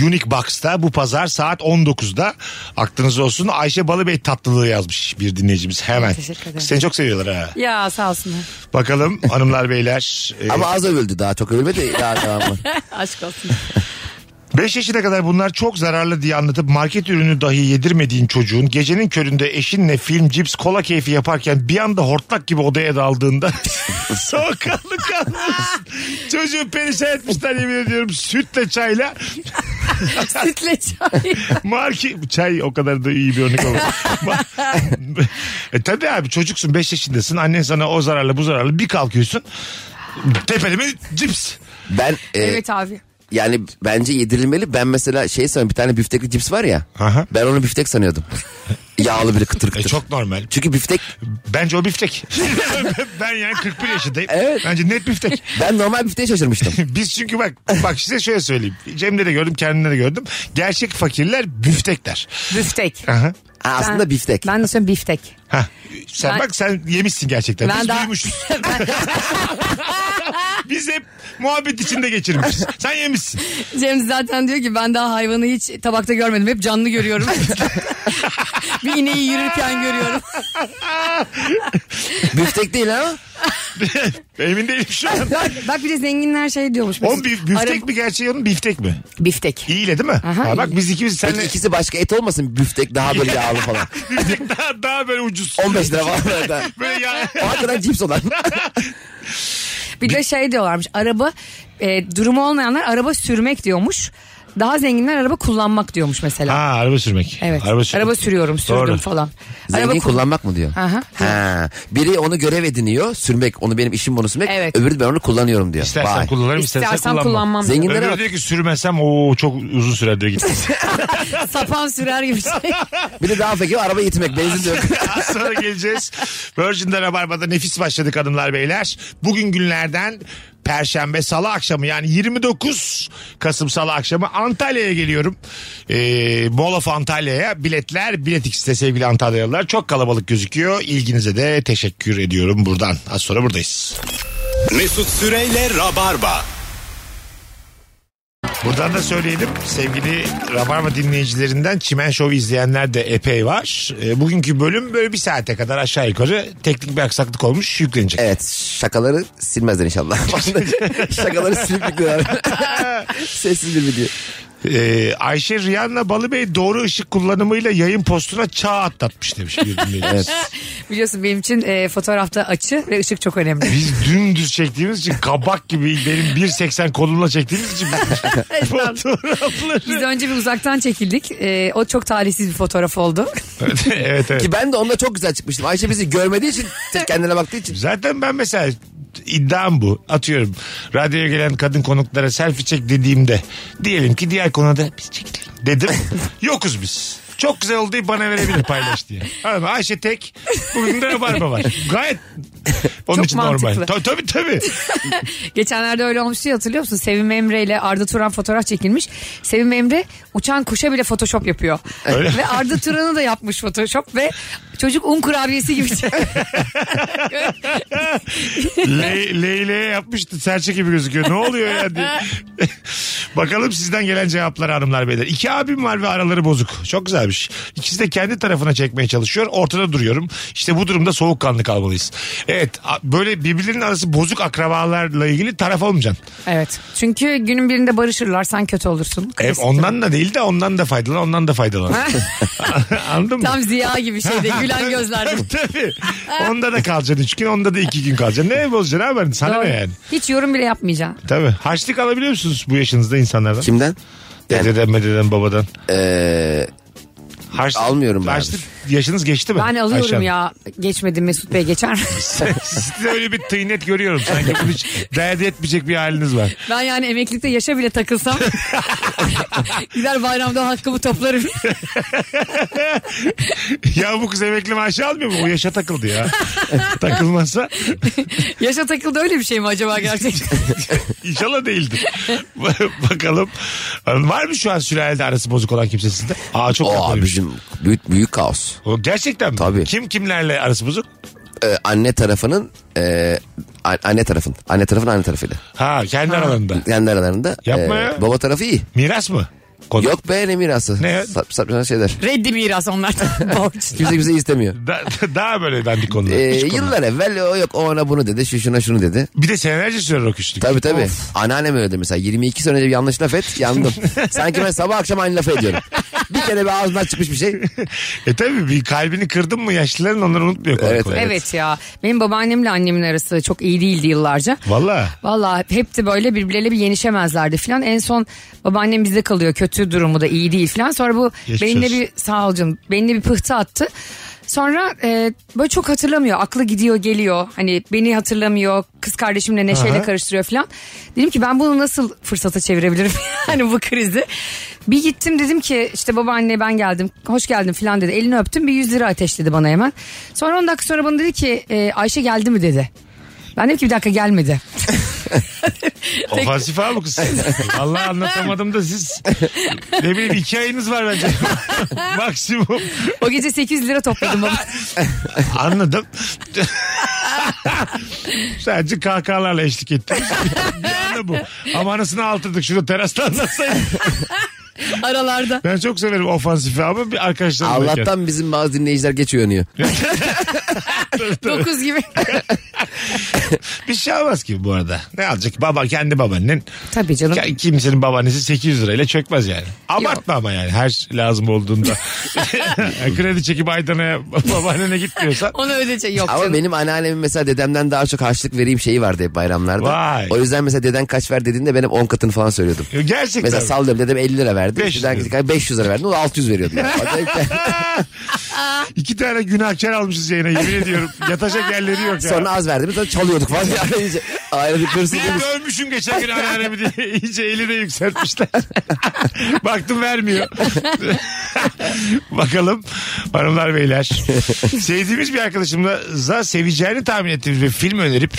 Speaker 3: Unique Box'ta bu pazar saat 19'da. Aklınız olsun Ayşe Balıbey tatlılığı yazmış bir dinleyicimiz hemen.
Speaker 4: Teşekkür ederim.
Speaker 3: Seni çok seviyorlar ha.
Speaker 4: Ya sağ olsunlar.
Speaker 3: Bakalım hanımlar beyler. e,
Speaker 5: Ama az övüldü daha çok övülmedi. Daha devamlı.
Speaker 4: Aşk olsun.
Speaker 3: 5 yaşına kadar bunlar çok zararlı diye anlatıp market ürünü dahi yedirmediğin çocuğun gecenin köründe eşinle film, cips, kola keyfi yaparken bir anda hortlak gibi odaya daldığında soğukkanlı kalmışsın. Çocuğu perişan etmişler yemin ediyorum sütle çayla.
Speaker 4: Sütle çay.
Speaker 3: Market çay o kadar da iyi bir örnek olmadı. Ma- e tabii abi çocuksun 5 yaşındasın annen sana o zararlı bu zararlı bir kalkıyorsun tepeleme cips.
Speaker 5: Ben e,
Speaker 4: Evet abi.
Speaker 5: yani bence yedirilmeli. Ben mesela şey sanıyorum bir tane biftekli cips var ya.
Speaker 3: Aha.
Speaker 5: Ben onu biftek sanıyordum. Yağlı bir kıtır
Speaker 3: E
Speaker 5: kıtır.
Speaker 3: çok normal.
Speaker 5: Çünkü biftek
Speaker 3: Bence o biftek. ben yani 41 yaşındayım.
Speaker 5: Evet.
Speaker 3: Bence net biftek.
Speaker 5: ben normal bifteğe şaşırmıştım.
Speaker 3: Biz çünkü bak bak size şöyle söyleyeyim. Cem'de de gördüm kendimde de gördüm. Gerçek fakirler büftekler.
Speaker 4: Büftek.
Speaker 3: Aha.
Speaker 5: Ha, aslında
Speaker 4: Ben-
Speaker 5: biftek.
Speaker 4: Ben de söylüyorum biftek.
Speaker 3: Hah. Sen
Speaker 4: Ben-
Speaker 3: bak sen yemişsin gerçekten.
Speaker 4: Ben
Speaker 3: Biz
Speaker 4: daha-
Speaker 3: duymuşuz. Biz hep muhabbet içinde geçirmişiz. Sen yemişsin.
Speaker 4: Cem zaten diyor ki ben daha hayvanı hiç tabakta görmedim. Hep canlı görüyorum. bir ineği yürürken görüyorum.
Speaker 5: biftek değil ha.
Speaker 3: Emin değilim şu an.
Speaker 4: Bak bir de zenginler şey diyormuş.
Speaker 3: O bif- büftek
Speaker 4: Ara-
Speaker 3: mi gerçeği onun biftek mi?
Speaker 4: Biftek.
Speaker 3: İyiyle değil mi?
Speaker 4: Aha,
Speaker 3: Ha, bak
Speaker 4: iyiyle.
Speaker 3: biz ikimiz
Speaker 5: Peki
Speaker 3: seninle
Speaker 5: ikisi başka et olmasın biftek daha böyle yağlı falan.
Speaker 3: büftek daha, daha böyle ucuz.
Speaker 5: 15 lira falan.
Speaker 3: Şey-
Speaker 5: zaten.
Speaker 3: Böyle ya.
Speaker 5: O hakikaten cips olan.
Speaker 4: Bir de şey diyorlarmış. Araba e, durumu olmayanlar araba sürmek diyormuş. Daha zenginler araba kullanmak diyormuş mesela.
Speaker 3: Ha araba sürmek.
Speaker 4: Evet. Araba,
Speaker 3: Araba, sürmek.
Speaker 4: sürüyorum, sürdüm
Speaker 3: Doğru.
Speaker 4: falan.
Speaker 5: Zengin
Speaker 4: araba kullan.
Speaker 5: kullanmak mı diyor?
Speaker 4: Aha.
Speaker 5: Ha. Biri onu görev ediniyor. Sürmek. Onu benim işim bunu sürmek.
Speaker 4: Evet.
Speaker 5: Öbürü ben onu kullanıyorum diyor.
Speaker 3: İstersen
Speaker 5: Vay.
Speaker 3: kullanırım istersen,
Speaker 4: İstersen
Speaker 3: kullanmam.
Speaker 4: kullanmam.
Speaker 5: Zengin-
Speaker 4: Zengin.
Speaker 5: Dinlere
Speaker 3: Öbürü
Speaker 5: bak.
Speaker 3: diyor ki sürmesem o çok uzun sürer diyor git.
Speaker 4: Sapan sürer gibi şey.
Speaker 5: Bir de daha fakir araba itmek. Benzin de yok.
Speaker 3: Az sonra geleceğiz. Virgin'de Rabarba'da nefis başladık hanımlar beyler. Bugün günlerden Perşembe Salı akşamı yani 29 Kasım Salı akşamı Antalya'ya geliyorum. Ee, Mall of Antalya'ya biletler Bilet X'te sevgili Antalyalılar çok kalabalık gözüküyor. İlginize de teşekkür ediyorum buradan. Az sonra buradayız.
Speaker 2: Mesut Süreyle Rabarba.
Speaker 3: Buradan da söyleyelim sevgili Rabarba dinleyicilerinden Çimen Show izleyenler de epey var. Ee, bugünkü bölüm böyle bir saate kadar aşağı yukarı teknik bir aksaklık olmuş yüklenecek.
Speaker 5: Evet şakaları silmezler inşallah. şakaları silip yıkıyorlar. Sessiz bir video.
Speaker 3: Ee, Ayşe Riyan'la Balıbey doğru ışık kullanımıyla yayın postuna çağ atlatmış demiş bir dinleyicimiz.
Speaker 4: Biliyorsun benim için e, fotoğrafta açı ve ışık çok önemli.
Speaker 3: Biz dümdüz çektiğimiz için kabak gibi benim 1.80 kolumla çektiğimiz için
Speaker 4: Biz
Speaker 3: fotoğrafları.
Speaker 4: önce bir uzaktan çekildik. E, o çok talihsiz bir fotoğraf oldu.
Speaker 3: evet evet.
Speaker 5: Ki ben de onunla çok güzel çıkmıştım. Ayşe bizi görmediği için tek kendine baktığı için.
Speaker 3: Zaten ben mesela iddiam bu. Atıyorum radyoya gelen kadın konuklara selfie çek dediğimde diyelim ki diğer konuda biz çekelim dedim. Yokuz biz. Çok güzel oldu deyip bana verebilir paylaş diye. Anladın mı? Ayşe tek. Bugün de rabarba var. Gayet onun
Speaker 4: Çok
Speaker 3: için normal.
Speaker 4: mantıklı.
Speaker 3: Tabii tabii. tabii.
Speaker 4: Geçenlerde öyle olmuştu ya, hatırlıyor musun? Sevim Emre ile Arda Turan fotoğraf çekilmiş. Sevim Emre uçan kuşa bile photoshop yapıyor.
Speaker 3: Öyle.
Speaker 4: Ve Arda Turan'ı da yapmış photoshop ve çocuk un kurabiyesi gibi.
Speaker 3: Le Leyle yapmıştı. Serçe gibi gözüküyor. Ne oluyor ya diye. Bakalım sizden gelen cevaplar hanımlar beyler. İki abim var ve araları bozuk. Çok güzelmiş. İkisi de kendi tarafına çekmeye çalışıyor. Ortada duruyorum. İşte bu durumda soğukkanlı kalmalıyız. Evet a- böyle birbirlerinin arası bozuk akrabalarla ilgili taraf olmayacaksın.
Speaker 4: evet. Çünkü günün birinde barışırlar sen kötü olursun.
Speaker 3: E, ondan da değil de ondan da faydalan ondan da faydalan. Anladın mı?
Speaker 4: Tam Ziya gibi şeyde gülen
Speaker 3: Tabii,
Speaker 4: gözlerde.
Speaker 3: Tabii tabii. Onda da kalacaksın üç gün onda da iki gün kalacaksın. Ne bozacaksın abi? Sana
Speaker 4: Doğru.
Speaker 3: ne yani?
Speaker 4: Hiç yorum bile yapmayacaksın.
Speaker 3: Tabii. Harçlık alabiliyor musunuz bu yaşınızda insanlardan?
Speaker 5: Kimden? Yani,
Speaker 3: Dededen, mededen, babadan.
Speaker 5: eee,
Speaker 3: Harçlık,
Speaker 5: Almıyorum ben.
Speaker 3: Harçlık yaşınız geçti mi?
Speaker 4: Ben alıyorum
Speaker 3: Ayşe Hanım?
Speaker 4: ya. Geçmedim Mesut Bey geçer mi?
Speaker 3: Sizde öyle bir tıynet görüyorum. Sanki bunu hiç dert etmeyecek bir haliniz var.
Speaker 4: Ben yani emeklilikte yaşa bile takılsam gider bayramda hakkımı toplarım.
Speaker 3: ya bu kız emekli maaşı almıyor mu? O yaşa takıldı ya. Takılmazsa
Speaker 4: yaşa takıldı öyle bir şey mi acaba gerçekten?
Speaker 3: inşallah değildir. Bakalım. Var mı şu an sülalede arası bozuk olan kimse sizde? Aa çok
Speaker 5: o
Speaker 3: haklı.
Speaker 5: abicim büyük, büyük kaos.
Speaker 3: O gerçekten mi?
Speaker 5: Tabii.
Speaker 3: Kim kimlerle arası bozuk?
Speaker 5: Ee, anne tarafının e, a- anne tarafın. Anne tarafın anne tarafıyla.
Speaker 3: Ha kendi aralarında.
Speaker 5: Kendi aralarında. e,
Speaker 3: Yapma ya.
Speaker 5: Baba tarafı iyi.
Speaker 3: Miras mı? Konu.
Speaker 5: Yok be ne mirası.
Speaker 3: Ne?
Speaker 5: Sap, sapan şeyler.
Speaker 4: Reddi miras onlardan borç.
Speaker 5: Kimse kimse istemiyor.
Speaker 3: Da- daha böyle dandik konular.
Speaker 5: Ee,
Speaker 3: Hiç konular.
Speaker 5: yıllar evvel o yok o ona bunu dedi şu şuna şunu dedi.
Speaker 3: Bir de senelerce sürer o küslük.
Speaker 5: Tabii tabii. Anneannem öyledir mesela 22 sene önce bir yanlış laf et yandım. Sanki ben sabah akşam aynı laf ediyorum. bir kere bir ağzından çıkmış bir şey.
Speaker 3: E tabii bir kalbini kırdın mı yaşlıların onları unutmuyor kolay
Speaker 5: Evet,
Speaker 3: kolay.
Speaker 4: Evet. ya benim babaannemle annemin arası çok iyi değildi yıllarca.
Speaker 3: Valla.
Speaker 4: Valla hep de böyle birbirleriyle bir yenişemezlerdi filan. En son babaannem bizde kalıyor kötü durumu da iyi değil filan. Sonra bu
Speaker 3: Geçmiş
Speaker 4: benimle
Speaker 3: olsun.
Speaker 4: bir sağ ol canım benimle bir pıhtı attı. Sonra e, böyle çok hatırlamıyor aklı gidiyor geliyor hani beni hatırlamıyor kız kardeşimle neşeyle
Speaker 3: Aha.
Speaker 4: karıştırıyor filan. Dedim ki ben bunu nasıl fırsata çevirebilirim hani bu krizi. Bir gittim dedim ki işte babaanne ben geldim hoş geldin filan dedi elini öptüm bir 100 lira ateşledi bana hemen. Sonra 10 dakika sonra bana dedi ki e, Ayşe geldi mi dedi. Ben dedim ki bir dakika gelmedi.
Speaker 3: Ofansif abi bu kız. Valla anlatamadım da siz ne bileyim iki ayınız var bence. Maksimum.
Speaker 4: O gece 800 lira topladım baba.
Speaker 3: Anladım. Sadece kahkahalarla eşlik ettim. Bir anda bu. Ama anasını altırdık şurada terasta anlatsaydım.
Speaker 4: aralarda.
Speaker 3: Ben çok severim ofansifi ama bir arkadaşlarımdayken.
Speaker 5: Allah'tan bizim bazı dinleyiciler geç uyanıyor.
Speaker 4: 9 gibi.
Speaker 3: Bir şey almaz ki bu arada. Ne alacak? Baba kendi babaannen.
Speaker 4: Tabii canım.
Speaker 3: Ya Kimsenin babaannesi 800 lirayla çökmez yani. Abartma ama yani her şey lazım olduğunda. Kredi çekip Aydan'a babaannene gitmiyorsan.
Speaker 4: Onu ödeyecek. Yok
Speaker 5: Ama
Speaker 4: canım.
Speaker 5: benim anneannemin mesela dedemden daha çok harçlık vereyim şeyi vardı hep bayramlarda.
Speaker 3: Vay.
Speaker 5: O yüzden mesela deden kaç ver dediğinde benim 10 katını falan söylüyordum.
Speaker 3: Gerçekten.
Speaker 5: Mesela sallıyorum dedem 50 lira verdi.
Speaker 3: 500
Speaker 5: 500 lira. 500 lira verdi. O da 600 veriyordu. Yani.
Speaker 3: İki tane günahkar almışız yayına yemin ediyorum. Yatacak yerleri yok ya.
Speaker 5: Sonra az verdi. Sonra çalıyorduk falan. Yani iyice Ayrı bir hırsız
Speaker 3: Niye
Speaker 5: demiş.
Speaker 3: dövmüşüm geçen gün anneannemi diye. İyice eli de yükseltmişler. Baktım vermiyor. Bakalım hanımlar beyler. Sevdiğimiz bir arkadaşımıza seveceğini tahmin ettiğimiz bir film önerip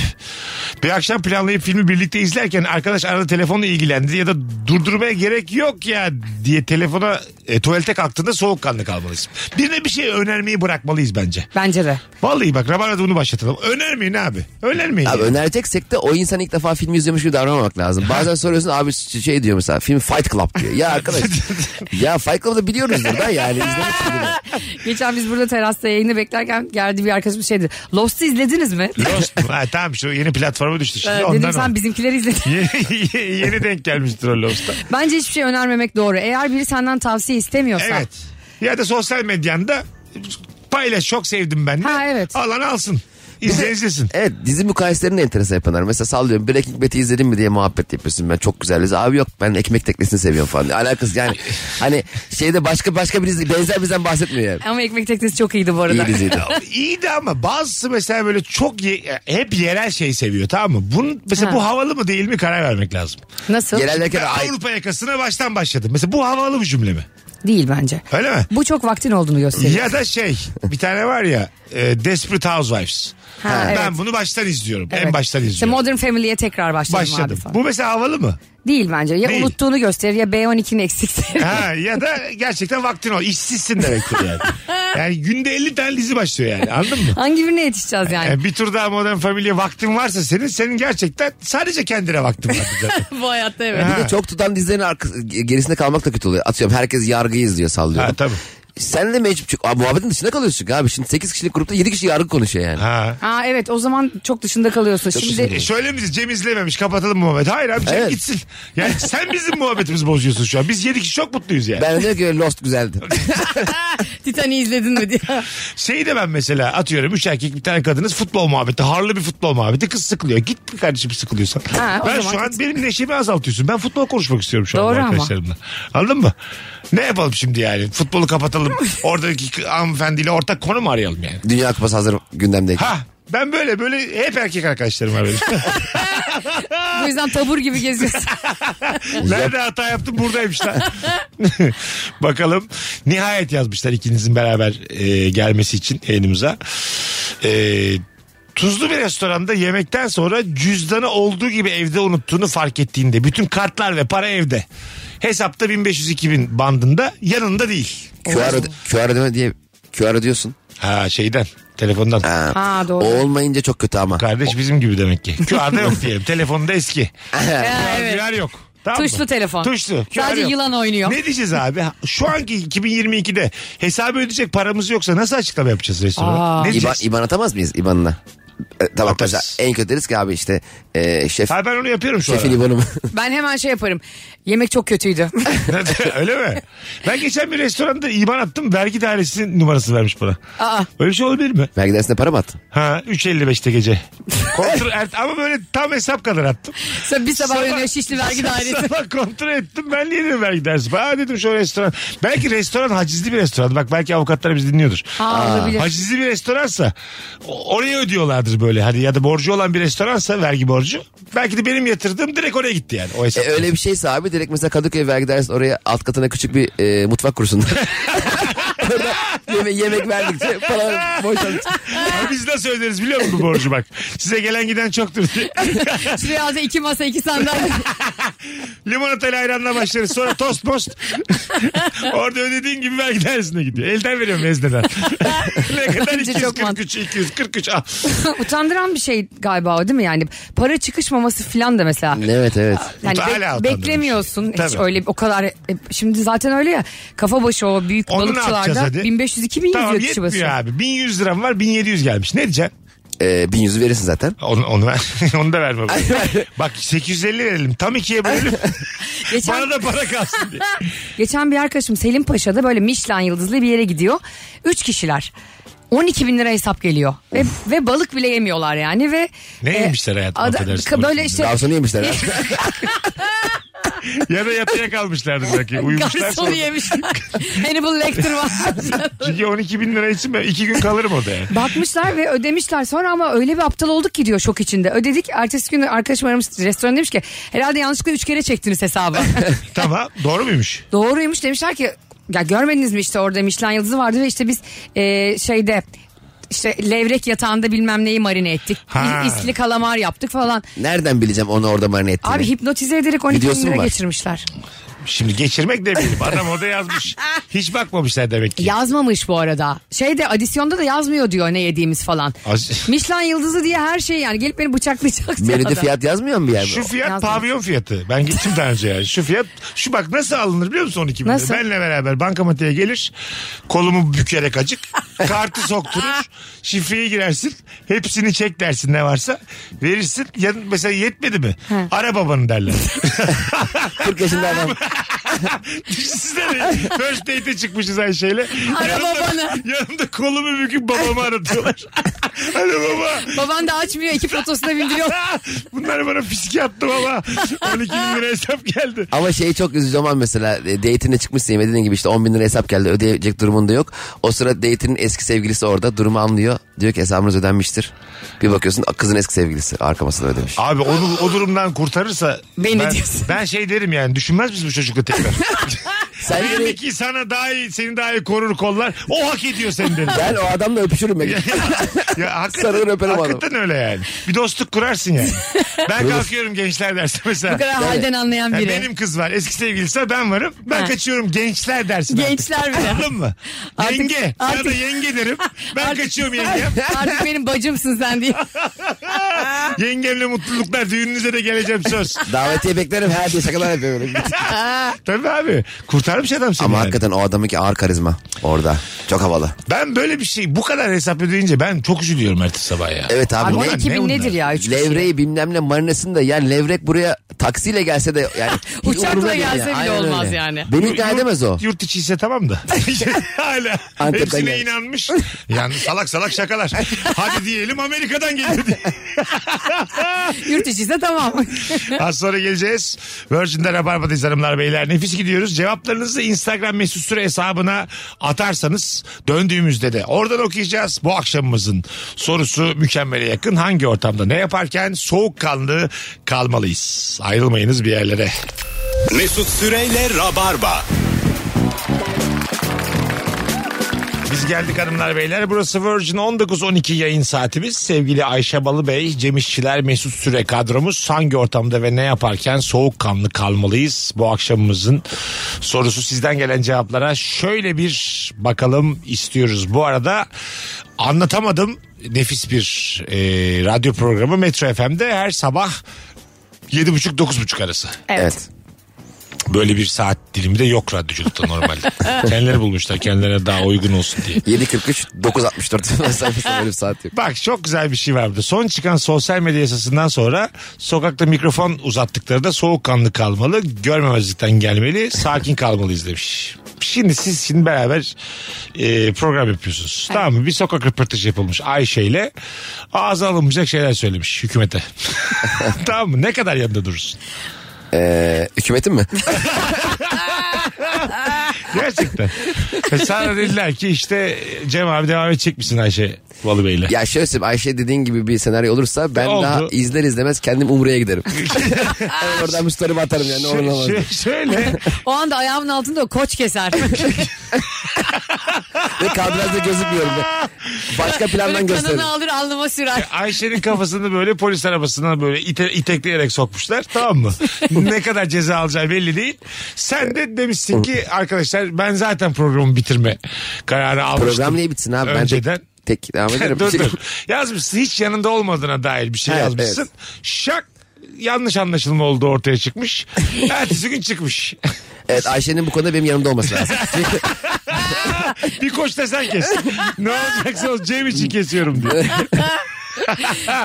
Speaker 3: bir akşam planlayıp filmi birlikte izlerken arkadaş arada telefonla ilgilendi ya da durdurmaya gerek yok ya diye telefona e, tuvalete kalktığında soğukkanlı kalmalıyız. Birine bir şey önermeyi bırakmalıyız bence.
Speaker 4: Bence de.
Speaker 3: Vallahi bak Rabarba'da bunu başlatalım. Önermeyin abi. Önermeyin.
Speaker 5: Abi önereceksek de o insan ilk defa film izliyormuş gibi davranmamak lazım. Bazen soruyorsun abi şey diyor mesela film Fight Club diyor. Ya arkadaş ya Fight Club'ı da biliyoruzdur da yani izlemişsindir.
Speaker 4: Geçen biz burada terasta yayını beklerken geldi bir arkadaşımız şey dedi. Lost'u izlediniz mi?
Speaker 3: Lost mu? Ha, tamam şu yeni platforma düştü şimdi.
Speaker 4: Ee,
Speaker 3: Ondan
Speaker 4: Dedim sen
Speaker 3: o.
Speaker 4: bizimkileri izledin.
Speaker 3: yeni, yeni denk gelmiştir o Lost'a.
Speaker 4: Bence hiçbir şey önermemek doğru. Eğer biri senden tavsiye istemiyorsa.
Speaker 3: Evet. Ya da sosyal medyanda paylaş çok sevdim ben de.
Speaker 4: Ha, evet.
Speaker 3: Alan alsın. İzle izlesin.
Speaker 5: Evet dizi mukayeselerini enteresan yapanlar. Mesela sallıyorum Breaking Bad'i izledin mi diye muhabbet yapıyorsun. Ben çok güzel dizi. Abi yok ben ekmek teknesini seviyorum falan. Alakası yani hani şeyde başka başka bir dizi benzer bizden bahsetmiyor yani.
Speaker 4: Ama ekmek teknesi çok iyiydi bu arada.
Speaker 5: İyi diziydi.
Speaker 3: Ya, İyiydi ama bazısı mesela böyle çok ye- hep yerel şey seviyor tamam mı? Bunun, mesela
Speaker 4: Ha.
Speaker 3: bu havalı mı değil mi karar vermek lazım.
Speaker 4: Nasıl?
Speaker 5: Yerel derken
Speaker 3: Ben
Speaker 5: ay,
Speaker 3: Avrupa yakasına baştan başladım. Mesela bu havalı bir cümle mi?
Speaker 4: Değil bence.
Speaker 3: Öyle mi?
Speaker 4: Bu çok vaktin olduğunu gösteriyor.
Speaker 3: Ya da şey bir tane var ya e, Desperate Housewives.
Speaker 4: Ha,
Speaker 3: ben
Speaker 4: evet.
Speaker 3: bunu baştan izliyorum. En
Speaker 4: Evet.
Speaker 3: baştan
Speaker 4: İşte
Speaker 3: izliyorum.
Speaker 4: Modern Family'ye tekrar başladım, abi
Speaker 3: Başladım.
Speaker 4: falan.
Speaker 3: Bu mesela havalı mı?
Speaker 4: Değil bence. Ya
Speaker 3: Değil.
Speaker 4: unuttuğunu gösterir ya B12'nin eksikleri.
Speaker 3: Ha, ya da gerçekten vaktin ol. İşsizsin demektir yani. yani günde 50 tane dizi başlıyor yani anladın mı?
Speaker 4: Hangi birine yetişeceğiz yani?
Speaker 3: Yani bir tur daha Modern Family vaktin varsa senin senin gerçekten sadece kendine vaktin var. zaten.
Speaker 4: Bu hayatta evet.
Speaker 5: Bir de çok tutan dizilerin arkası, gerisinde kalmak da kötü oluyor. Atıyorum herkes yargıyı izliyor sallıyor.
Speaker 3: ha tabii.
Speaker 5: Sen de mecbur çık. Aa, muhabbetin dışına kalıyorsun çünkü abi. Şimdi 8 kişilik grupta 7 kişi yargı konuşuyor yani.
Speaker 3: Ha.
Speaker 4: Aa evet o zaman çok dışında kalıyorsun. Şimdi
Speaker 3: E, Şöyle mi diyeceğiz? Cem izlememiş kapatalım muhabbeti. Hayır abi Cem
Speaker 5: Evet.
Speaker 3: gitsin. Yani sen bizim muhabbetimizi bozuyorsun şu an. Biz yedi kişi çok mutluyuz yani.
Speaker 5: Ben de diyor ki Lost güzeldi.
Speaker 4: Titan'i izledin mi diye.
Speaker 3: Şeyi de ben mesela atıyorum üç erkek bir tane kadınız futbol muhabbeti. Harlı bir futbol muhabbeti. Kız sıkılıyor. Git bir kardeşim sıkılıyorsan.
Speaker 4: Ha, o
Speaker 3: ben
Speaker 4: zaman
Speaker 3: şu an
Speaker 4: git.
Speaker 3: benim neşemi azaltıyorsun. Ben futbol konuşmak istiyorum şu an
Speaker 4: Doğru
Speaker 3: bu
Speaker 4: ama.
Speaker 3: arkadaşlarımla. Anladın mı? Ne yapalım şimdi yani? Futbolu kapatalım. Oradaki k- hanımefendiyle ortak konu mu arayalım yani?
Speaker 5: Dünya Kupası hazır gündemdeyken.
Speaker 3: Ha ben böyle böyle hep erkek arkadaşlarım var benim.
Speaker 4: Bu yüzden tabur gibi geziyorsun.
Speaker 3: Nerede hata yaptım buradaymışlar. Bakalım. Nihayet yazmışlar ikinizin beraber e, gelmesi için elimize. tuzlu bir restoranda yemekten sonra cüzdanı olduğu gibi evde unuttuğunu fark ettiğinde bütün kartlar ve para evde. Hesapta 1500-2000 bandında yanında değil.
Speaker 5: QR, öde- QR ödeme diye QR ödüyorsun.
Speaker 3: Ha şeyden telefondan.
Speaker 5: Ha.
Speaker 4: Ha, doğru.
Speaker 5: O olmayınca çok kötü ama.
Speaker 3: Kardeş bizim gibi demek ki. QR'da yok diyelim. Telefonda eski. QR, yok. Tamam mı?
Speaker 4: Tuşlu telefon.
Speaker 3: Tuşlu. QR
Speaker 4: Sadece
Speaker 3: yok.
Speaker 4: yılan oynuyor.
Speaker 3: Ne diyeceğiz abi? Şu anki 2022'de hesabı ödeyecek paramız yoksa nasıl açıklama yapacağız restorana?
Speaker 4: Aa.
Speaker 3: Ne
Speaker 5: İban,
Speaker 3: diyeceğiz?
Speaker 5: İban atamaz mıyız İban'ına? E, tamam
Speaker 3: Atarız.
Speaker 5: mesela en kötü deriz ki abi işte e, şef,
Speaker 3: Ha ben onu yapıyorum şu
Speaker 5: şefin
Speaker 3: an.
Speaker 5: İban'ı mı?
Speaker 4: Ben hemen şey yaparım. Yemek çok kötüydü.
Speaker 3: Öyle mi? Ben geçen bir restoranda iban attım. Vergi dairesinin numarasını vermiş bana.
Speaker 4: Aa.
Speaker 3: Öyle şey olabilir mi?
Speaker 5: Vergi dersine para mı attın?
Speaker 3: Ha 3.55'te gece. Kontrol, er- ama böyle tam hesap kadar attım.
Speaker 4: Sen bir sabah uyanıyor Şişli Vergi Dairesi.
Speaker 3: Sabah kontrol ettim ben niye dedim vergi dersi. Ha dedim şu restoran. Belki restoran hacizli bir restoran. Bak belki avukatlar bizi dinliyordur.
Speaker 4: Ha, olabilir.
Speaker 3: Hacizli bir restoransa o- oraya ödüyorlardır böyle. Hani ya da borcu olan bir restoransa vergi borcu. Belki de benim yatırdığım direkt oraya gitti yani o hesap.
Speaker 5: E, öyle bir şeyse abi direkt mesela Kadıköy vergi dairesi oraya alt katına küçük bir e, mutfak kursun. Orada yeme- yemek verdikçe para boşalt.
Speaker 3: Ama Biz nasıl öderiz biliyor musun bu borcu bak. Size gelen giden çoktur diye.
Speaker 4: Şuraya az iki masa iki sandalye.
Speaker 3: Limonatayla ayranla başlarız sonra tost post. Orada ödediğin gibi vergi dairesine gidiyor. Elden veriyorum vezneden. ne kadar
Speaker 4: Bence çok
Speaker 3: 243 243 al.
Speaker 4: Utandıran bir şey galiba o değil mi yani? Para çıkışmaması falan da mesela.
Speaker 5: Evet evet.
Speaker 4: Yani
Speaker 3: Hala
Speaker 4: bek-
Speaker 3: utandırıcı.
Speaker 4: beklemiyorsun hiç
Speaker 3: Tabii.
Speaker 4: öyle o kadar e, şimdi zaten öyle ya kafa başı o büyük
Speaker 3: Onu ne yapacağız
Speaker 4: balıkçılarda
Speaker 3: hadi?
Speaker 4: 1500 2000
Speaker 3: Tamam
Speaker 4: yazıyor kişi
Speaker 3: yetmiyor
Speaker 4: başı.
Speaker 3: abi. 1100 liram var 1700 gelmiş. Ne diyeceksin?
Speaker 5: E, bin yüzü verirsin zaten.
Speaker 3: Onu, onu ver. onu da verme. bana. Bak 850 verelim. Tam ikiye bölelim.
Speaker 4: Geçen
Speaker 3: Bana da para kalsın diye.
Speaker 4: Geçen bir arkadaşım Selim Paşa'da böyle Michelin yıldızlı bir yere gidiyor. Üç kişiler. 12 bin lira hesap geliyor. Ve, ve balık bile yemiyorlar yani ve... e,
Speaker 3: Ne yemişler hayatım,
Speaker 4: ada-
Speaker 3: affedersin,
Speaker 4: ka-
Speaker 3: 12
Speaker 4: Böyle şey,
Speaker 3: bin
Speaker 4: işte
Speaker 5: Garsonu yemişler abi.
Speaker 3: Ya da yatıya kalmışlardı belki. Uyumuşlar.
Speaker 4: garsonu yemişler. Hannibal Lecter var.
Speaker 3: Çünkü 12 bin lira için ben iki gün kalırım odaya.
Speaker 4: Bakmışlar ve ödemişler sonra ama öyle bir aptal olduk ki diyor şok içinde. Ödedik ertesi gün arkadaşım aramış restoran demiş ki herhalde yanlışlıkla üç kere çektiniz hesabı.
Speaker 3: tamam. Doğru muymuş?
Speaker 4: Doğruymuş demişler ki ya görmediniz mi işte orada Michelin yıldızı vardı ve işte biz e, şeyde işte levrek yatağında bilmem neyi marine ettik.
Speaker 3: Ha.
Speaker 4: İ- İsli kalamar yaptık falan.
Speaker 5: Nereden bileceğim onu orada marine ettiğini?
Speaker 4: Abi hipnotize ederek 12
Speaker 5: Videosu
Speaker 4: bin
Speaker 5: mu
Speaker 4: lira
Speaker 5: var?
Speaker 4: geçirmişler.
Speaker 3: Şimdi geçirmek demeyelim. Adam orada yazmış. Hiç bakmamışlar demek ki.
Speaker 4: Yazmamış bu arada. Şeyde adisyonda da yazmıyor diyor ne yediğimiz falan.
Speaker 3: Az-
Speaker 4: Michelin yıldızı diye her şey yani gelip beni bıçaklayacak diyor
Speaker 5: Menüde
Speaker 4: adam.
Speaker 5: fiyat yazmıyor mu bir yerde?
Speaker 3: Şu fiyat
Speaker 4: Yazmamış.
Speaker 3: pavyon fiyatı. Ben gittim daha önce yani. Şu fiyat şu bak nasıl alınır biliyor musun 12 bin lira?
Speaker 4: Nasıl?
Speaker 3: Benle beraber bankamatiğe gelir. Kolumu bükerek acık. Kartı sokturur. Şifreyi girersin. Hepsini çek dersin ne varsa. Verirsin. Ya, mesela yetmedi mi? Ara babanı derler.
Speaker 5: 40 yaşında adam.
Speaker 3: Size de first date'e çıkmışız Ayşe'yle.
Speaker 4: Ara
Speaker 3: Yanımda-
Speaker 4: babanı.
Speaker 3: Yanımda kolumu büküp babamı aratıyorlar. Alo baba.
Speaker 4: Baban da açmıyor ekip fotosuna bindiriyor.
Speaker 3: Bunlar bana fiske attı baba. 12 bin lira hesap geldi.
Speaker 5: Ama şey çok üzücü olan mesela e, date'ine çıkmışsın ya, dediğin gibi işte 10 bin lira hesap geldi ödeyecek durumunda yok. O sıra date'inin eski sevgilisi orada durumu anlıyor. Diyor ki hesabınız ödenmiştir. Bir bakıyorsun kızın eski sevgilisi arka masada ödemiş.
Speaker 3: Abi onu o durumdan kurtarırsa
Speaker 4: Beni
Speaker 3: ben,
Speaker 4: diyorsun.
Speaker 3: ben şey derim yani düşünmez misin bu çocukla tekrar?
Speaker 5: Sen
Speaker 3: Belli
Speaker 5: direkt-
Speaker 3: ki sana daha iyi, seni daha iyi korur kollar. O hak ediyor seni derim.
Speaker 5: Ben o adamla öpüşürüm. ben.
Speaker 3: ya hakikaten,
Speaker 5: Sarılır öperim adamı.
Speaker 3: hakikaten öyle yani. Bir dostluk kurarsın yani. ben kalkıyorum gençler dersi mesela.
Speaker 4: Bu kadar halden anlayan
Speaker 3: Ha,
Speaker 4: biri.
Speaker 3: benim kız var. Eski sevgilisi var. Ben varım. Ben
Speaker 4: Ha.
Speaker 3: kaçıyorum gençler dersin.
Speaker 4: Gençler
Speaker 3: artık.
Speaker 4: bile.
Speaker 3: Anladın mı?
Speaker 4: Artık-
Speaker 3: yenge. Sana da
Speaker 4: artık-
Speaker 3: yenge derim. Ben
Speaker 4: Artık-
Speaker 3: kaçıyorum yengem.
Speaker 4: Artık benim bacımsın sen diye.
Speaker 3: Yengemle mutluluklar. Düğününüze de geleceğim söz.
Speaker 5: Davetiye beklerim her diye şakalar yapıyorum.
Speaker 3: Tabii abi. Kurtarmış adam seni
Speaker 5: Ama
Speaker 3: yani.
Speaker 5: hakikaten o adamın ki ağır karizma orada. Çok havalı.
Speaker 3: Ben böyle bir şey bu kadar hesap ödeyince ben çok üzülüyorum ertesi sabah ya.
Speaker 5: Evet abi.
Speaker 4: Abi
Speaker 5: ne-
Speaker 4: o
Speaker 3: ne
Speaker 4: 2000
Speaker 3: bunlar?
Speaker 4: nedir ya? şey Üç kişi.
Speaker 5: Levreyi bilmem ne marinesini de yani levrek buraya taksiyle gelse de yani hiç
Speaker 4: Uçakla
Speaker 5: umurumda değil
Speaker 4: gelse bile
Speaker 5: Aynen
Speaker 4: olmaz
Speaker 5: öyle.
Speaker 4: yani.
Speaker 5: Beni ikna edemez o.
Speaker 3: Yurt içi ise tamam da. Hala
Speaker 5: Antep'ten
Speaker 3: hepsine
Speaker 5: gelmiş.
Speaker 3: inanmış. Yani salak salak şakalar. Hadi diyelim Amerika'dan geliyor diye.
Speaker 4: Yurt içiyse tamam.
Speaker 3: Az sonra geleceğiz. Virgin'de Rabarba'dayız hanımlar beyler. Nefis gidiyoruz. Cevaplarınızı Instagram mesut süre hesabına atarsanız döndüğümüzde de oradan okuyacağız. Bu akşamımızın sorusu mükemmele yakın. Hangi ortamda ne yaparken soğukkanlı kalmalıyız? Ayrılmayınız bir yerlere.
Speaker 2: Mesut Süreyle Rabarba.
Speaker 3: Biz geldik hanımlar beyler. Burası Virgin 19.12 yayın saatimiz. Sevgili Ayşe Balıbey, Cem İşçiler, Mesut Süre kadromuz. Hangi ortamda ve ne yaparken soğukkanlı kalmalıyız? Bu akşamımızın sorusu sizden gelen cevaplara şöyle bir bakalım istiyoruz. Bu arada anlatamadım nefis bir e, radyo programı Metro FM'de her sabah 7.30-9.30 arası.
Speaker 5: Evet.
Speaker 3: Böyle bir saat dilimi de yok radyoculukta normalde. kendileri bulmuşlar kendilerine daha uygun olsun diye.
Speaker 5: 7.43 9.64 mesafesi böyle bir saat yok.
Speaker 3: Bak çok güzel bir şey var burada. Son çıkan sosyal medya yasasından sonra sokakta mikrofon uzattıkları da soğukkanlı kalmalı, görmemezlikten gelmeli, sakin kalmalıyız demiş. Şimdi siz şimdi beraber e, program yapıyorsunuz. Tamam mı? Bir sokak röportajı yapılmış Ayşe ile ağza alınmayacak şeyler söylemiş hükümete. tamam mı? Ne kadar yanında durursun?
Speaker 5: Ee, hükümetin mi?
Speaker 3: Gerçekten. E, sana dediler ki işte Cem abi devam edecek misin Ayşe Valı Bey'le?
Speaker 5: ya şöyle söyleyeyim Ayşe dediğin gibi bir senaryo olursa ben
Speaker 3: Oldu.
Speaker 5: daha izler izlemez kendim Umre'ye giderim. Hemen oradan müşterimi atarım yani.
Speaker 3: Şö-
Speaker 5: oradan atarım.
Speaker 3: şö- şöyle
Speaker 4: O anda ayağımın altında o koç keser.
Speaker 5: Ve kadrajda gözükmüyorum ben. Başka
Speaker 4: Böyle
Speaker 5: plandan gösteririm.
Speaker 4: kanını alır alnıma sürer.
Speaker 3: Ayşe'nin kafasını böyle polis arabasına böyle ite, itekleyerek sokmuşlar tamam mı? ne kadar ceza alacağı belli değil. Sen de demişsin ki arkadaşlar ben zaten programı bitirme kararı almıştım.
Speaker 5: Program niye bitsin abi?
Speaker 3: Önceden.
Speaker 5: Ben tek, tek devam ederim.
Speaker 3: dur dur. Yazmışsın hiç yanında olmadığına dair bir şey
Speaker 5: Evet,
Speaker 3: yazmışsın.
Speaker 5: evet.
Speaker 3: Şak yanlış anlaşılma oldu ortaya çıkmış. Ertesi gün çıkmış.
Speaker 5: Evet Ayşe'nin bu konuda benim yanımda olması lazım.
Speaker 3: bir koç desen kes. ne olacaksa olsun, Cem için kesiyorum diyor.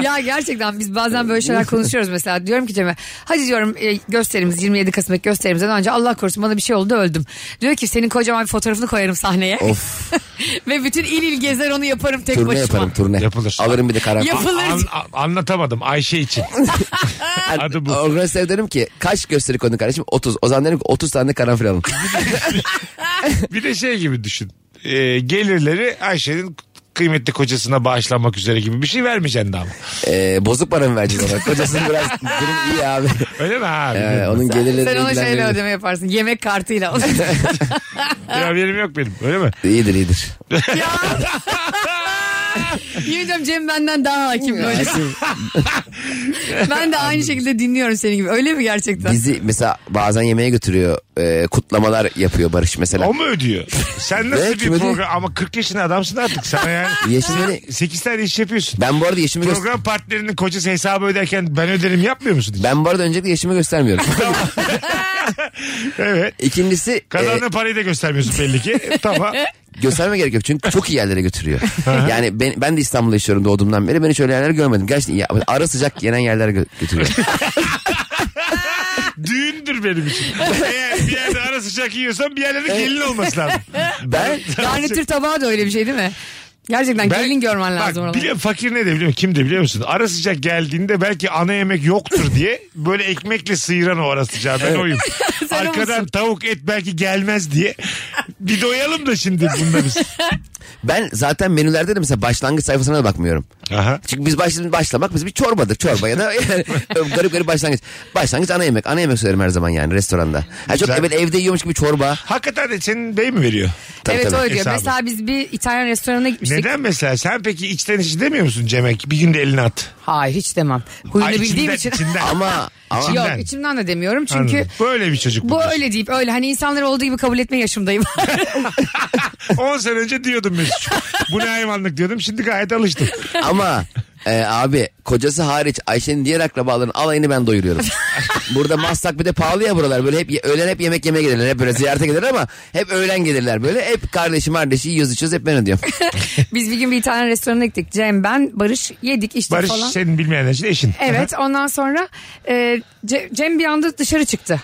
Speaker 4: ya gerçekten biz bazen böyle şeyler konuşuyoruz mesela. Diyorum ki Cem'e hadi diyorum e, gösterimiz 27 Kasım'daki gösterimizden önce Allah korusun bana bir şey oldu da öldüm. Diyor ki senin kocaman bir fotoğrafını koyarım sahneye.
Speaker 5: of
Speaker 4: Ve bütün il il gezer onu yaparım tek
Speaker 5: turne
Speaker 4: başıma.
Speaker 5: yaparım turne.
Speaker 3: Yapılır.
Speaker 5: Alırım bir de karar.
Speaker 4: Yapılır.
Speaker 3: An- an- anlatamadım Ayşe için. Adı bu.
Speaker 5: Organize derim ki kaç gösteri koydun kardeşim? 30. O zaman derim ki 30 tane de karanfil alın.
Speaker 3: Bir de şey gibi düşün. Ee, gelirleri Ayşe'nin kıymetli kocasına bağışlanmak üzere gibi bir şey vermeyeceksin daha.
Speaker 5: Ee, bozuk para mı vereceğiz ona? Kocasının biraz durum iyi abi.
Speaker 3: Öyle mi abi?
Speaker 5: Ee, onun gelirleri
Speaker 4: Sen ona şeyle
Speaker 5: ilgilendirir.
Speaker 4: ödeme yaparsın. Yemek kartıyla.
Speaker 3: Bir haberim yok benim. Öyle mi?
Speaker 5: İyidir iyidir.
Speaker 4: ya. Yemin ediyorum Cem benden daha hakim böyle. ben de aynı şekilde dinliyorum seni gibi. Öyle mi gerçekten?
Speaker 5: Bizi mesela bazen yemeğe götürüyor. Ee, kutlamalar yapıyor Barış mesela.
Speaker 3: O mu ödüyor? Sen nasıl
Speaker 5: Ne?
Speaker 3: bir
Speaker 5: Kim ödüyor?
Speaker 3: program ama 40 yaşında adamsın artık sana yani.
Speaker 5: Yeşim beni-
Speaker 3: 8 tane iş yapıyorsun.
Speaker 5: Ben bu arada yeşimi göster-
Speaker 3: Program partnerinin kocası hesabı öderken ben öderim yapmıyor musun? hiç?
Speaker 5: ben bu arada öncelikle yeşimi göstermiyorum.
Speaker 3: Evet.
Speaker 5: İkincisi e,
Speaker 3: Kazandığın parayı da göstermiyorsun belli ki. tamam.
Speaker 5: gösterme gerek yok çünkü çok iyi yerlere götürüyor. yani ben, ben de İstanbul'da yaşıyorum doğduğumdan beri. Ben hiç öyle yerlere görmedim. Gerçekten ya, ara sıcak yenen yerlere gö- götürüyor.
Speaker 3: Düğündür benim için. Eğer bir yerde ara sıcak yiyorsan bir yerlerde gelin olması lazım.
Speaker 5: E- ben
Speaker 4: Garnitür tabağı da öyle bir şey değil mi? Gerçekten
Speaker 3: Ben-
Speaker 4: gelin Hani görmen lazım
Speaker 3: Bak,
Speaker 4: oraları.
Speaker 3: biliyor, fakir ne de biliyor musun? Kim de biliyor musun? Ara sıcak geldiğinde belki ana yemek yoktur diye böyle ekmekle sıyıran o ara sıcağı. Ben oyum.
Speaker 4: Sen o
Speaker 3: Arkadan
Speaker 4: musun?
Speaker 3: tavuk et belki gelmez diye. Bir doyalım da şimdi bunda biz.
Speaker 5: Ben zaten menülerde de mesela başlangıç sayfasına da bakmıyorum.
Speaker 3: Aha.
Speaker 5: Çünkü biz başlamak, başlamak biz bir çorbadır. Çorba ya da yani garip garip başlangıç. Başlangıç ana yemek. Ana yemek söylerim her zaman yani restoranda. Ha çok
Speaker 3: Güzel.
Speaker 5: evet evde yiyormuş gibi çorba.
Speaker 3: Hakikaten de senin bey mi veriyor?
Speaker 5: Tabii,
Speaker 4: evet
Speaker 5: tabii.
Speaker 4: öyle diyor.
Speaker 3: Hesabı.
Speaker 4: Mesela biz bir İtalyan restoranına gitmiştik.
Speaker 3: Neden mesela? Sen peki içten içe demiyor musun Cemek? Bir gün de elini at.
Speaker 4: Hayır hiç demem. Huyunu
Speaker 3: Ay,
Speaker 4: bildiğim
Speaker 3: içinden,
Speaker 4: için.
Speaker 3: içinden.
Speaker 5: Ama, ama
Speaker 3: İçinden.
Speaker 4: Yok içimden de demiyorum çünkü
Speaker 3: Anladım. böyle bir çocuk.
Speaker 4: bu öyle deyip öyle hani insanları olduğu gibi kabul etme yaşımdayım.
Speaker 3: 10 sene önce diyordum Mesut. bu ne hayvanlık diyordum. Şimdi gayet alıştım.
Speaker 5: ama e, abi kocası hariç Ayşe'nin diğer akrabaların alayını ben doyuruyorum. Burada Maslak bir de pahalı ya buralar. Böyle hep ye- öğlen hep yemek yemeye gelirler. Hep böyle ziyarete gelirler ama hep öğlen gelirler böyle. Hep kardeşim kardeşi yiyoruz içiyoruz hep ben ödüyorum.
Speaker 4: Biz bir gün bir İtalyan restoranına gittik. Cem ben Barış yedik işte
Speaker 3: Barış şey-
Speaker 4: falan.
Speaker 3: senin bilmeyenler için eşin.
Speaker 4: Evet ondan sonra e, Ce- Cem bir anda dışarı çıktı.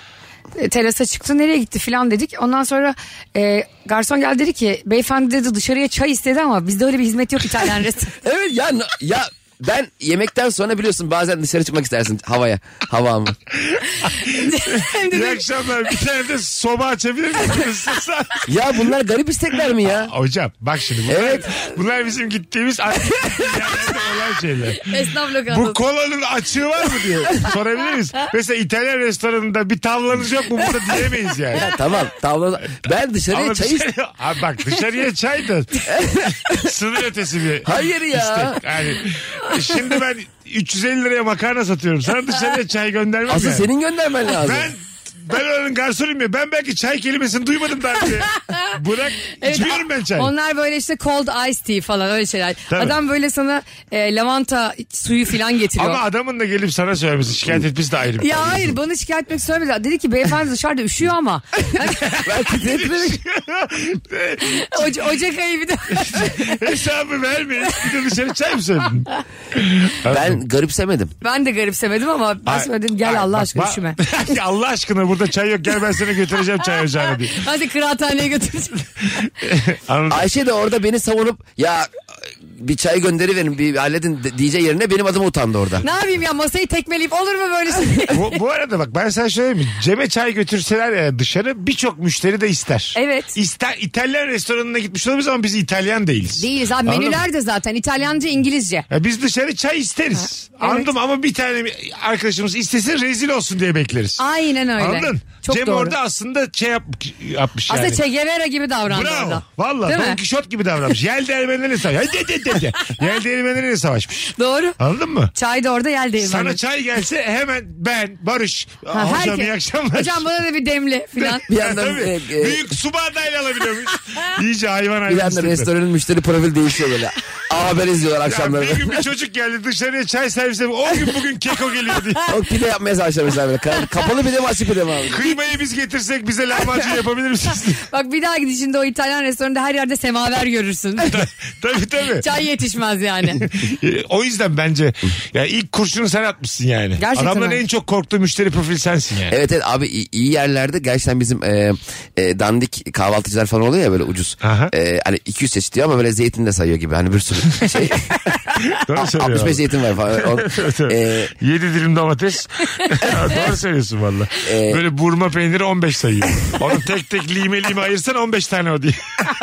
Speaker 4: E, Terasa çıktı nereye gitti filan dedik. Ondan sonra e, garson geldi dedi ki beyefendi dedi dışarıya çay istedi ama bizde öyle bir hizmet yok İtalyan restoranı.
Speaker 5: Evet ya ya ben yemekten sonra biliyorsun bazen dışarı çıkmak istersin havaya. Hava mı?
Speaker 4: Hem
Speaker 3: İyi
Speaker 4: de
Speaker 3: akşamlar. Bir tane de soba açabilir misiniz?
Speaker 5: Ya bunlar garip istekler mi ya?
Speaker 3: Hocam bak şimdi bunlar,
Speaker 5: Evet.
Speaker 3: bunlar bizim gittiğimiz aktif yerlerde olan şeyler.
Speaker 4: esnaf
Speaker 3: Bu
Speaker 4: lokantası.
Speaker 3: kolanın açığı var mı diyor. Sorabilir miyiz? Mesela İtalyan restoranında bir tavlanız yok mu burada diyemeyiz yani.
Speaker 5: Ya tamam tavla ben dışarıya
Speaker 3: Ama şey-
Speaker 5: çay
Speaker 3: dışarı-
Speaker 5: ist-
Speaker 3: Abi bak dışarıya çay da sınır ötesi bir
Speaker 5: Hayır ya.
Speaker 3: istek. Yani e, şimdi ben 350 liraya makarna satıyorum. Sana dışarıya çay göndermem
Speaker 5: Asıl
Speaker 3: yani.
Speaker 5: senin göndermen lazım.
Speaker 3: Ben ben oranın garsonuyum ya. Ben belki çay kelimesini duymadım daha önce. Bırak içmiyorum ben çay.
Speaker 4: Onlar böyle işte cold ice tea falan öyle şeyler.
Speaker 3: Tabii.
Speaker 4: Adam böyle sana e, lavanta suyu filan getiriyor.
Speaker 3: Ama adamın da gelip sana söylemesi şikayet etmesi de ayrı. bir
Speaker 4: Ya
Speaker 3: konu.
Speaker 4: hayır bana şikayet etmek söylemedi. Dedi ki beyefendi dışarıda üşüyor ama.
Speaker 5: Ben titreyerek-
Speaker 4: Oca- Ocak ayı bir de.
Speaker 3: Hesabı vermeyin. Bir de dışarı çay mı söyledin?
Speaker 5: ben garipsemedim.
Speaker 4: Ben de garipsemedim ama ben
Speaker 3: Ay-
Speaker 4: söyledim gel
Speaker 3: ay,
Speaker 4: Allah
Speaker 3: bak-
Speaker 4: aşkına
Speaker 3: bak-
Speaker 4: üşüme.
Speaker 3: Ya Allah aşkına burada çay yok gel ben seni götüreceğim çay ocağına diye.
Speaker 4: Hadi kıraathaneye götüreceğim.
Speaker 3: Anladın?
Speaker 5: Ayşe de orada beni savunup ya bir çay gönderiverin bir halledin de- diyeceği yerine benim adım utandı orada.
Speaker 4: ne yapayım ya masayı tekmeleyip olur mu böyle şey?
Speaker 3: bu, bu arada bak ben sana söyleyeyim mi? Cem'e çay götürseler ya dışarı birçok müşteri de ister.
Speaker 4: Evet.
Speaker 3: İster, İtalyan restoranına gitmiş olabiliriz ama biz İtalyan değiliz.
Speaker 4: Değiliz abi
Speaker 3: Anladın
Speaker 4: menüler de zaten İtalyanca İngilizce.
Speaker 3: Ya biz dışarı çay isteriz.
Speaker 4: evet.
Speaker 3: Anladım ama bir tane arkadaşımız istesin rezil olsun diye bekleriz.
Speaker 4: Aynen öyle.
Speaker 3: Anladın?
Speaker 4: Çok
Speaker 3: Cem
Speaker 4: doğru.
Speaker 3: orada aslında şey yap, yapmış yani.
Speaker 4: Aslında Che Guevara gibi davrandı
Speaker 3: Bravo.
Speaker 4: orada.
Speaker 3: Valla
Speaker 4: Değil
Speaker 3: Don
Speaker 4: mi?
Speaker 3: Kişot gibi davranmış. Yel değirmenlerine savaşmış. Yel de- de- de- de. Yel değirmenlerine savaşmış.
Speaker 4: Doğru.
Speaker 3: Anladın mı?
Speaker 4: Çay da orada yel değirmeni.
Speaker 3: Sana çay gelse hemen ben Barış.
Speaker 4: Ha,
Speaker 3: hocam
Speaker 4: herkes-
Speaker 3: iyi akşamlar.
Speaker 4: Hocam bana da bir demli filan.
Speaker 5: Bir yandan
Speaker 3: Tabii.
Speaker 5: e, e,
Speaker 3: Büyük su bardağıyla alabiliyor muyuz? İyice hayvan hayvan.
Speaker 5: bir yandan
Speaker 3: istekler.
Speaker 5: restoranın müşteri profil değişiyor böyle. A haber izliyorlar
Speaker 3: Ya
Speaker 5: akşamları.
Speaker 3: bir gün bir çocuk geldi dışarıya çay servisi. O gün bugün keko geliyor diye.
Speaker 5: o pide yapmaya başlamışlar böyle. Ka- Kapalı pide mi açık pide mi abi?
Speaker 3: Kıymayı biz getirsek bize lahmacun yapabilir misiniz?
Speaker 4: Bak bir daha gidişinde o İtalyan restoranında her yerde semaver görürsün.
Speaker 3: tabii tabii.
Speaker 4: Çay yetişmez yani.
Speaker 3: Ee, O yüzden bence ya ilk kurşunu sen atmışsın yani.
Speaker 4: Gerçekten
Speaker 3: Adamların
Speaker 4: öyle.
Speaker 3: en çok korktuğu müşteri profili sensin yani.
Speaker 5: Evet evet abi iyi- iyi yerlerde gerçekten bizim e, e, dandik kahvaltıcılar falan oluyor ya böyle ucuz.
Speaker 3: Aha.
Speaker 5: E, hani 200 çeşit diyor ama böyle zeytin de sayıyor gibi hani bir sürü şey.
Speaker 3: Doğru söylüyorsun.
Speaker 5: 65 zeytin var falan. O- e,
Speaker 3: 7 dilim domates. Doğru söylüyorsun valla.
Speaker 5: Ee,
Speaker 3: Böyle burma peyniri 15 sayıyor. Onu tek tek lime lime ayırsan 15 tane o diye.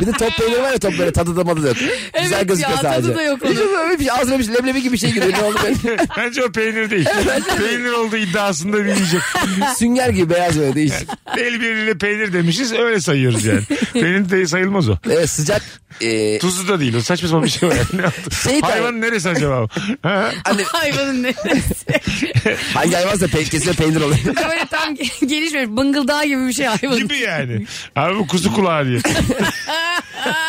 Speaker 5: bir de top peyniri var ya top böyle tadı da madı da yok.
Speaker 4: ya,
Speaker 5: Güzel gözüküyor
Speaker 4: tadı
Speaker 5: sadece.
Speaker 4: da yok onun.
Speaker 5: Hiç öyle bir şey, ağzına bir şey, leblebi gibi bir şey giriyor. Ne oldu böyle?
Speaker 3: Bence o peynir değil. peynir olduğu iddiasında bir yiyecek.
Speaker 5: Sünger gibi beyaz böyle değişik.
Speaker 3: El birliğiyle peynir demişiz öyle sayıyoruz yani. Peynir de sayılmaz o.
Speaker 5: Evet sıcak. E,
Speaker 3: Tuzlu da değil o saçma sapan bir şey var. Yani.
Speaker 5: Şey tabii.
Speaker 3: Hayvan neresi acaba o? Ha?
Speaker 5: hani
Speaker 4: Hayvanın neresi?
Speaker 5: hangi hayvansa pe- kesin peynir oluyor.
Speaker 4: Böyle tam gelişmemiş. Bıngıldağ gibi bir şey hayvanın.
Speaker 3: Gibi yani. Abi bu kuzu kulağı diye.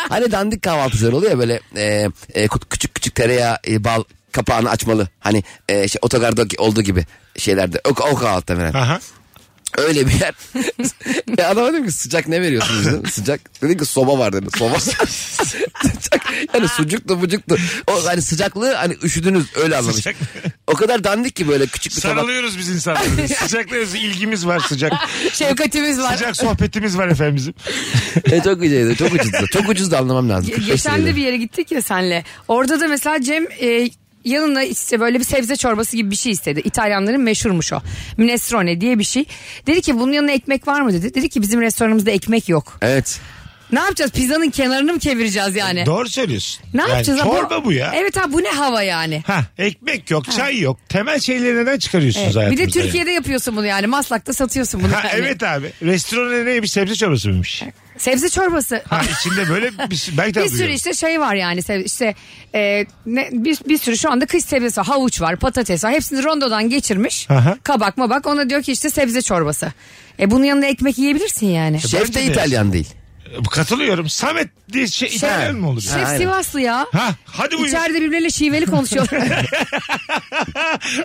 Speaker 5: Hani dandik kahvaltıcılar oluyor ya böyle e, e, kut- küçük küçük tereyağı e, bal kapağını açmalı. Hani e, şey, otogarda olduğu gibi şeylerde. O, o kahvaltıda falan.
Speaker 3: Aha.
Speaker 5: Öyle bir yer. ya adama dedim ki sıcak ne veriyorsunuz dedim. Sıcak. Dedim ki soba var dedi. Soba sıcak. Yani sucuktu bucuktu. O hani sıcaklığı hani üşüdünüz öyle anlamış.
Speaker 3: Sıcak.
Speaker 5: O kadar dandik ki böyle küçük bir tabak.
Speaker 3: Sarılıyoruz biz insanlara. Sıcaklarız ilgimiz var sıcak.
Speaker 4: Şefkatimiz var.
Speaker 3: Sıcak sohbetimiz var efendim bizim.
Speaker 5: E, çok ucuzdu. Çok ucuzdu. Çok ucuzdu anlamam lazım.
Speaker 4: Ge-
Speaker 5: 45
Speaker 4: Geçen
Speaker 5: liraydı.
Speaker 4: de bir yere gittik ya senle. Orada da mesela Cem e, yanına işte böyle bir sebze çorbası gibi bir şey istedi. İtalyanların meşhurmuş o. Minestrone diye bir şey. Dedi ki bunun yanına ekmek var mı dedi. Dedi ki bizim restoranımızda ekmek yok.
Speaker 5: Evet.
Speaker 4: Ne yapacağız? Pizzanın kenarını mı kevireceğiz yani?
Speaker 3: Doğru söylüyorsun.
Speaker 4: Ne
Speaker 3: Yani
Speaker 4: yapacağız? ama?
Speaker 3: Çorba bu ya.
Speaker 4: Evet abi bu ne hava yani?
Speaker 3: Hah, ekmek yok, çay yok. Temel şeyleri neden çıkarıyorsunuz
Speaker 4: Evet. Bir
Speaker 3: hayatımızda?
Speaker 4: de
Speaker 3: yani?
Speaker 4: Türkiye'de yapıyorsun bunu yani. Maslak'ta satıyorsun bunu.
Speaker 3: Ha,
Speaker 4: yani.
Speaker 3: evet abi. Restoranda neymiş? Sebze çorbası mıymış?
Speaker 4: Sebze çorbası.
Speaker 3: Ha, içinde böyle bir, belki de
Speaker 4: bir sürü
Speaker 3: duyuyorum.
Speaker 4: işte şey var yani Seb- işte e, ne, bir, bir sürü şu anda kış sebzesi var havuç var patates var hepsini rondodan geçirmiş
Speaker 3: Aha.
Speaker 4: kabak mabak ona diyor ki işte sebze çorbası. E bunun yanına ekmek yiyebilirsin yani.
Speaker 5: Şef de
Speaker 3: bence de.
Speaker 5: İtalyan değil.
Speaker 3: Katılıyorum. Samet diye şey, İtalyan mı olur?
Speaker 4: Şef
Speaker 5: aynen.
Speaker 4: Sivaslı ya.
Speaker 3: Ha, hadi buyurun.
Speaker 4: İçeride birbirleriyle şiveli konuşuyorlar.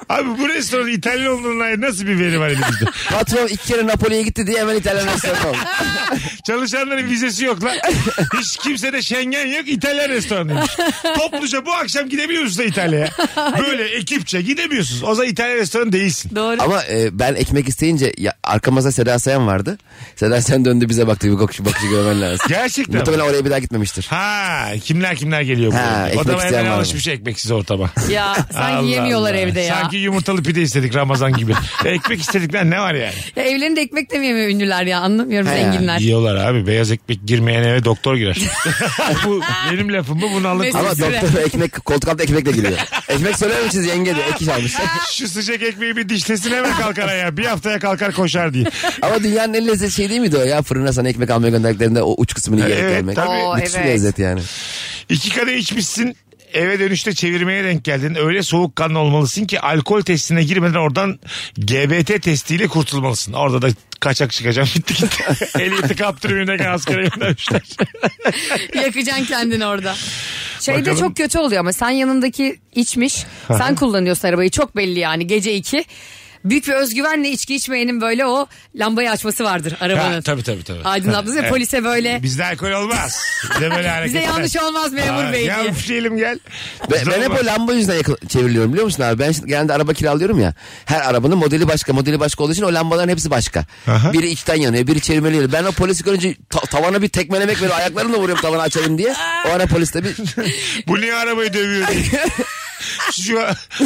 Speaker 3: Abi bu restoranın İtalyan olduğuna dair nasıl bir veri var elimizde?
Speaker 5: Patron iki kere Napoli'ye gitti diye hemen İtalyan restoranı oldu.
Speaker 3: Çalışanların vizesi yok lan. Hiç kimsede Schengen yok İtalyan restoranıymış. Topluca bu akşam gidemiyorsunuz da İtalya'ya. Böyle ekipçe gidemiyorsunuz. O zaman İtalyan restoranı değilsin.
Speaker 4: Doğru.
Speaker 5: Ama e, ben ekmek isteyince ya, arka masa Seda Sayan vardı. Seda Sayan döndü bize baktı. Bir bakışı, bakışı görmen lazım.
Speaker 3: Gerçekten mi?
Speaker 5: Muhtemelen oraya bir daha gitmemiştir.
Speaker 3: Ha kimler kimler geliyor
Speaker 5: Ha,
Speaker 3: buraya. O
Speaker 5: ekmek
Speaker 3: da
Speaker 5: isteyen
Speaker 3: hemen
Speaker 5: var mı?
Speaker 3: alışmış ekmeksiz ortama.
Speaker 4: ya
Speaker 3: Allah
Speaker 4: sanki yemiyorlar
Speaker 3: Allah.
Speaker 4: evde ya.
Speaker 3: Sanki yumurtalı pide istedik Ramazan gibi. Ekmek istedikler ne var yani?
Speaker 4: ya. Evlerinde ekmek de mi yemiyor ünlüler ya anlamıyorum
Speaker 5: He.
Speaker 4: zenginler.
Speaker 3: Yiyorlar abi. Beyaz ekmek girmeyen eve doktor girer. bu benim lafım bu. Bunu alın.
Speaker 4: Mesut-
Speaker 5: Ama
Speaker 4: Süre.
Speaker 5: doktor ekmek koltuk altında ekmekle giriyor. ekmek söyler misiniz yenge diyor. Ek iş almış.
Speaker 3: Şu sıcak ekmeği bir dişlesin hemen kalkar ayağa. Bir haftaya kalkar koşar diye.
Speaker 5: Ama dünyanın en lezzetli şey değil miydi o ya? Fırına sana ekmek almaya gönderdiklerinde o uç kısmını yiyerek
Speaker 3: Evet,
Speaker 5: gelmek.
Speaker 3: tabii.
Speaker 4: Oo,
Speaker 5: Müthiş bir
Speaker 4: evet.
Speaker 5: lezzet yani.
Speaker 3: İki kadeh içmişsin. Eve dönüşte çevirmeye denk geldin. Öyle soğukkanlı olmalısın ki alkol testine girmeden oradan GBT testiyle kurtulmalısın. Orada da kaçak çıkacağım bitti gitti. Ehliyeti kaptırmayayım ne kadar asgara göndermişler.
Speaker 4: Yakacaksın kendini orada. Şey de
Speaker 3: Bakalım.
Speaker 4: çok kötü oluyor ama sen yanındaki içmiş. sen kullanıyorsun arabayı çok belli yani gece iki. Büyük bir özgüvenle içki içmeyenin böyle o lambayı açması vardır arabanın.
Speaker 3: Ha, tabii, tabii, tabii.
Speaker 4: Aydın abla da
Speaker 3: Evet.
Speaker 4: polise böyle
Speaker 3: Bizde alkol olmaz. Bize böyle hareket
Speaker 4: bize yanlış
Speaker 3: olmaz.
Speaker 4: olmaz memur bey
Speaker 3: Gel
Speaker 4: diye.
Speaker 3: üfleyelim gel.
Speaker 5: Ben, ben hep o lamba yüzünden yakal- çevriliyorum biliyor musun abi? Ben şimdi genelde araba kiralıyorum ya. Her arabanın modeli başka. Modeli başka olduğu için o lambaların hepsi başka.
Speaker 3: Aha.
Speaker 5: Biri içten yanıyor, biri çevirmeli yanıyor. Ben o polisi görünce ta- tavana bir tekmelemek veriyorum. Ayaklarımla vuruyorum tavana açayım diye. O ara polis de bir...
Speaker 3: Bu niye arabayı dövüyor diye. Şu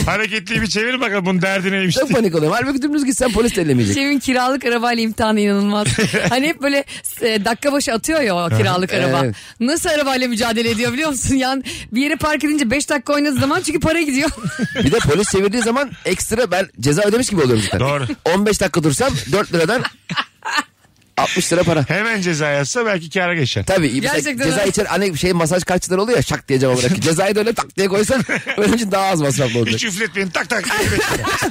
Speaker 3: hareketliyi bir çevir bakalım bunun derdi neymiş
Speaker 5: Çok
Speaker 3: diye.
Speaker 5: panik oluyorum. Halbuki dümdüz gitsen polis de
Speaker 3: şey
Speaker 5: ellemeyecek.
Speaker 4: Cem'in kiralık arabayla imtihanı inanılmaz. hani hep böyle e, dakika başı atıyor ya o kiralık araba.
Speaker 5: Evet.
Speaker 4: Nasıl arabayla mücadele ediyor biliyor musun? Yani bir yere park edince 5 dakika oynadığı zaman çünkü para gidiyor.
Speaker 5: Bir de polis çevirdiği zaman ekstra ben ceza ödemiş gibi oluyorum zaten.
Speaker 3: Doğru.
Speaker 5: 15 dakika dursam 4 liradan 60 lira para.
Speaker 3: Hemen ceza yazsa belki kâra geçer.
Speaker 5: Tabii mesela
Speaker 4: Gerçekten
Speaker 5: ceza
Speaker 4: öyle.
Speaker 5: içer hani bir şey masaj kaççılar oluyor ya şak diye cevap olarak. Cezayı da öyle tak diye koysan benim için daha az masraflı olacak.
Speaker 3: Hiç üfletmeyin tak tak.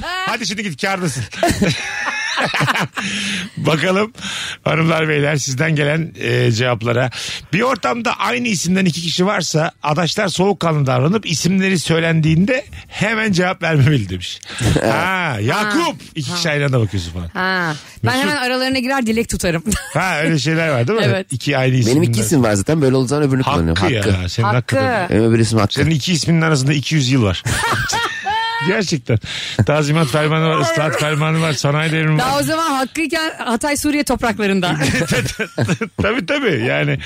Speaker 3: Hadi şimdi git kârdasın. Bakalım hanımlar beyler sizden gelen e, cevaplara. Bir ortamda aynı isimden iki kişi varsa adaşlar soğukkanlı davranıp isimleri söylendiğinde hemen cevap vermemeli demiş. ha Yakup iki kişi aynı anda bakıyorsun falan.
Speaker 4: Ha. Ben
Speaker 3: Mesut-
Speaker 4: hemen aralarına girer dilek tutarım.
Speaker 3: Ha öyle şeyler var değil mi?
Speaker 4: Evet.
Speaker 3: İki aynı isimden.
Speaker 5: Benim iki isim var zaten böyle olacağı öbürünü kullanıyorum.
Speaker 3: Hakkı, ya. Senin hakkı.
Speaker 4: Hakkı.
Speaker 5: Benim öbür isim Hakkı.
Speaker 3: Senin iki isminin arasında 200 yıl var. Gerçekten. Tazimat fermanı var, ıslahat fermanı var, sanayi devrimi var.
Speaker 4: Daha o zaman hakkıyken Hatay Suriye topraklarında.
Speaker 3: tabii tabii yani.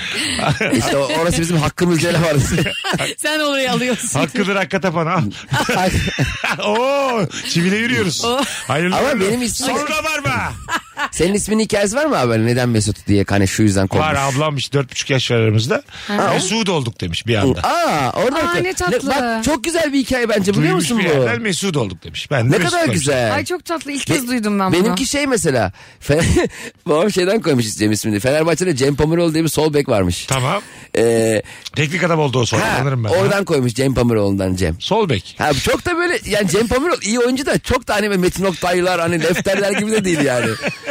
Speaker 5: İşte o- orası bizim hakkımız diye var.
Speaker 4: Sen orayı alıyorsun.
Speaker 3: Hakkıdır hakka tapan al. Oo, çivile yürüyoruz. Hayırlı
Speaker 5: Ama
Speaker 3: uğurlu.
Speaker 5: benim ismim-
Speaker 3: Sonra var mı?
Speaker 5: Senin isminin hikayesi var mı abi? Hani Neden Mesut diye hani şu yüzden korkmuş.
Speaker 3: Var ablammış dört buçuk yaş var aramızda. Mesut olduk demiş bir anda.
Speaker 5: Aa, orada
Speaker 4: Aa, ne tatlı.
Speaker 5: bak çok güzel bir hikaye bence biliyor
Speaker 3: Duymuş
Speaker 5: musun
Speaker 3: bir
Speaker 5: bu?
Speaker 3: yerden Mesut olduk demiş. Ben de
Speaker 5: Ne
Speaker 3: Mesut
Speaker 5: kadar
Speaker 3: olmuşum.
Speaker 5: güzel.
Speaker 4: Ay çok tatlı ilk kez duydum ben bunu.
Speaker 5: Benimki şey mesela. Fe- Babam şeyden koymuş Cem ismini. Fenerbahçe'de Cem Pamuroğlu diye bir sol bek varmış.
Speaker 3: Tamam.
Speaker 5: Ee,
Speaker 3: Teknik adam oldu o sonra
Speaker 5: ha,
Speaker 3: sanırım ben.
Speaker 5: oradan koymuş Cem Pamuroğlu'ndan Cem.
Speaker 3: Sol bek.
Speaker 5: Ha, çok da böyle yani Cem Pamuroğlu iyi oyuncu da çok da hani böyle Metin Oktaylar hani Lefterler gibi de değil yani.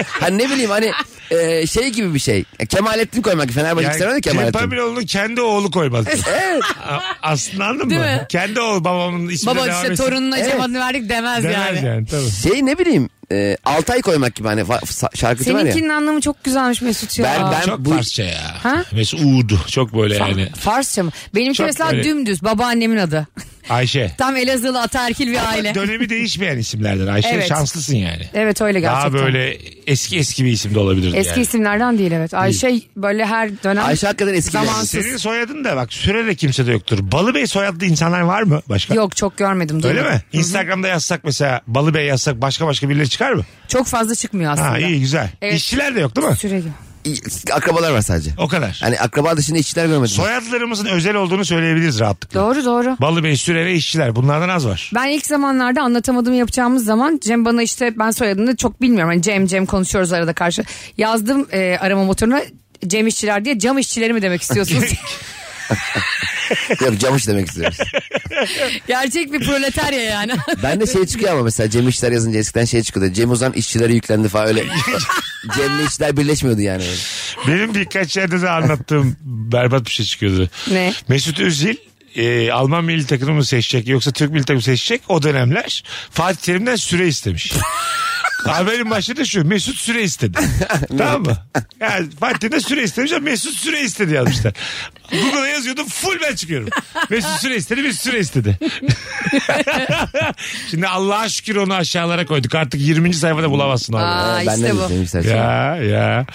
Speaker 5: Hani ne bileyim hani e, şey gibi bir şey. Kemalettin koymak Fenerbahçe istemedi
Speaker 3: Yani Cem
Speaker 5: Kemalettin.
Speaker 3: Pamiroğlu'nun kendi oğlu koymaz.
Speaker 5: Evet.
Speaker 3: A- Aslında anladın
Speaker 4: Değil
Speaker 3: mı?
Speaker 4: mi?
Speaker 3: Kendi oğlu babamın ismini
Speaker 4: Baba
Speaker 3: devam
Speaker 4: işte
Speaker 3: etsin.
Speaker 4: torununa
Speaker 5: Evet.
Speaker 4: cevabını verdik demez,
Speaker 3: Demez
Speaker 4: yani.
Speaker 3: yani. tabii.
Speaker 5: Şey ne bileyim e, Altay koymak gibi hani fa- sa- şarkıcı var ya.
Speaker 4: Seninkinin anlamı çok güzelmiş Mesut ya.
Speaker 5: Ben- ben-
Speaker 3: Çok
Speaker 5: bu-
Speaker 3: Farsça ya.
Speaker 4: Ha?
Speaker 3: Mesela Uğur'du. Çok böyle yani.
Speaker 4: Farsça mı? Benimki
Speaker 3: Çok
Speaker 4: mesela
Speaker 3: böyle-
Speaker 4: dümdüz babaannemin adı.
Speaker 3: Ayşe.
Speaker 4: Tam Elazığlı ataerkil bir aile.
Speaker 3: Dönemi değişmeyen isimlerden Ayşe.
Speaker 4: Evet.
Speaker 3: Şanslısın yani.
Speaker 4: Evet öyle gerçekten.
Speaker 3: Daha böyle eski eski bir isim de olabilirdi
Speaker 4: Eski
Speaker 3: yani.
Speaker 4: isimlerden değil evet. Ayşe böyle her dönem.
Speaker 5: Ayşe hakikaten eski bir-
Speaker 4: Zamansız.
Speaker 3: Senin soyadın da bak sürede kimse de yoktur. Balıbey soyadlı insanlar var mı başka?
Speaker 4: Yok çok görmedim.
Speaker 3: Öyle
Speaker 4: duymadım.
Speaker 3: mi? Instagram'da yazsak mesela Balıbey yazsak başka başka birileri çıkar mı?
Speaker 4: Çok fazla çıkmıyor aslında.
Speaker 3: Ha iyi güzel.
Speaker 4: Evet.
Speaker 3: İşçiler de yok değil mi?
Speaker 4: Süre gibi.
Speaker 5: akrabalar var sadece.
Speaker 3: O kadar.
Speaker 5: Hani akraba dışında işçiler görmedim.
Speaker 3: Soyadlarımızın özel olduğunu söyleyebiliriz rahatlıkla.
Speaker 4: Doğru doğru.
Speaker 3: Balıbey, Süre ve işçiler bunlardan az var.
Speaker 4: Ben ilk zamanlarda anlatamadığımı yapacağımız zaman Cem bana işte ben soyadını çok bilmiyorum. Hani Cem Cem konuşuyoruz arada karşı. Yazdım e, arama motoruna Cem işçiler diye cam işçileri mi demek istiyorsunuz?
Speaker 5: Yok camış demek istiyoruz.
Speaker 4: Gerçek bir proletarya yani.
Speaker 5: Ben de şey çıkıyor ama mesela Cem İşler yazınca eskiden şey çıkıyordu. Cem Uzan işçilere yüklendi falan öyle. Cem'le işçiler birleşmiyordu yani. öyle.
Speaker 3: Benim birkaç yerde de anlattığım berbat bir şey çıkıyordu.
Speaker 4: Ne?
Speaker 3: Mesut Özil e, Alman milli takımı mı seçecek yoksa Türk milli takımı seçecek o dönemler Fatih Terim'den süre istemiş. Haberin başlığı da şu Mesut süre istedi. tamam mı? Yani Fatih Terim'den süre istemiş ama Mesut süre istedi yazmışlar. Google'a yazıyordum full ben çıkıyorum. Mesut süre istedi Mesut süre istedi. Şimdi Allah'a şükür onu aşağılara koyduk. Artık 20. sayfada bulamazsın abi.
Speaker 4: Aa,
Speaker 5: ben de
Speaker 4: işte bu.
Speaker 5: izledim işler.
Speaker 3: Ya ya.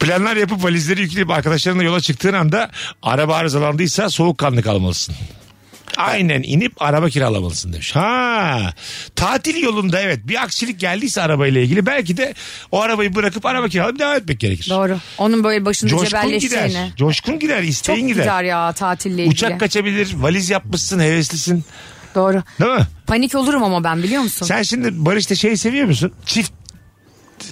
Speaker 3: Planlar yapıp valizleri yükleyip arkadaşlarınla yola çıktığın anda araba arızalandıysa soğukkanlı kalmalısın. Aynen inip araba kiralamalısın demiş. Ha tatil yolunda evet bir aksilik geldiyse arabayla ilgili belki de o arabayı bırakıp araba kiralayıp devam etmek gerekir.
Speaker 4: Doğru. Onun böyle başında
Speaker 3: Coşkun gider.
Speaker 4: cebelleştiğini.
Speaker 3: Coşkun gider,
Speaker 4: Çok
Speaker 3: isteğin gider.
Speaker 4: gider ya tatille ilgili.
Speaker 3: Uçak kaçabilir, valiz yapmışsın, heveslisin.
Speaker 4: Doğru.
Speaker 3: Değil mi?
Speaker 4: Panik olurum ama ben biliyor musun?
Speaker 3: Sen şimdi Barış'ta şey seviyor musun? Çift,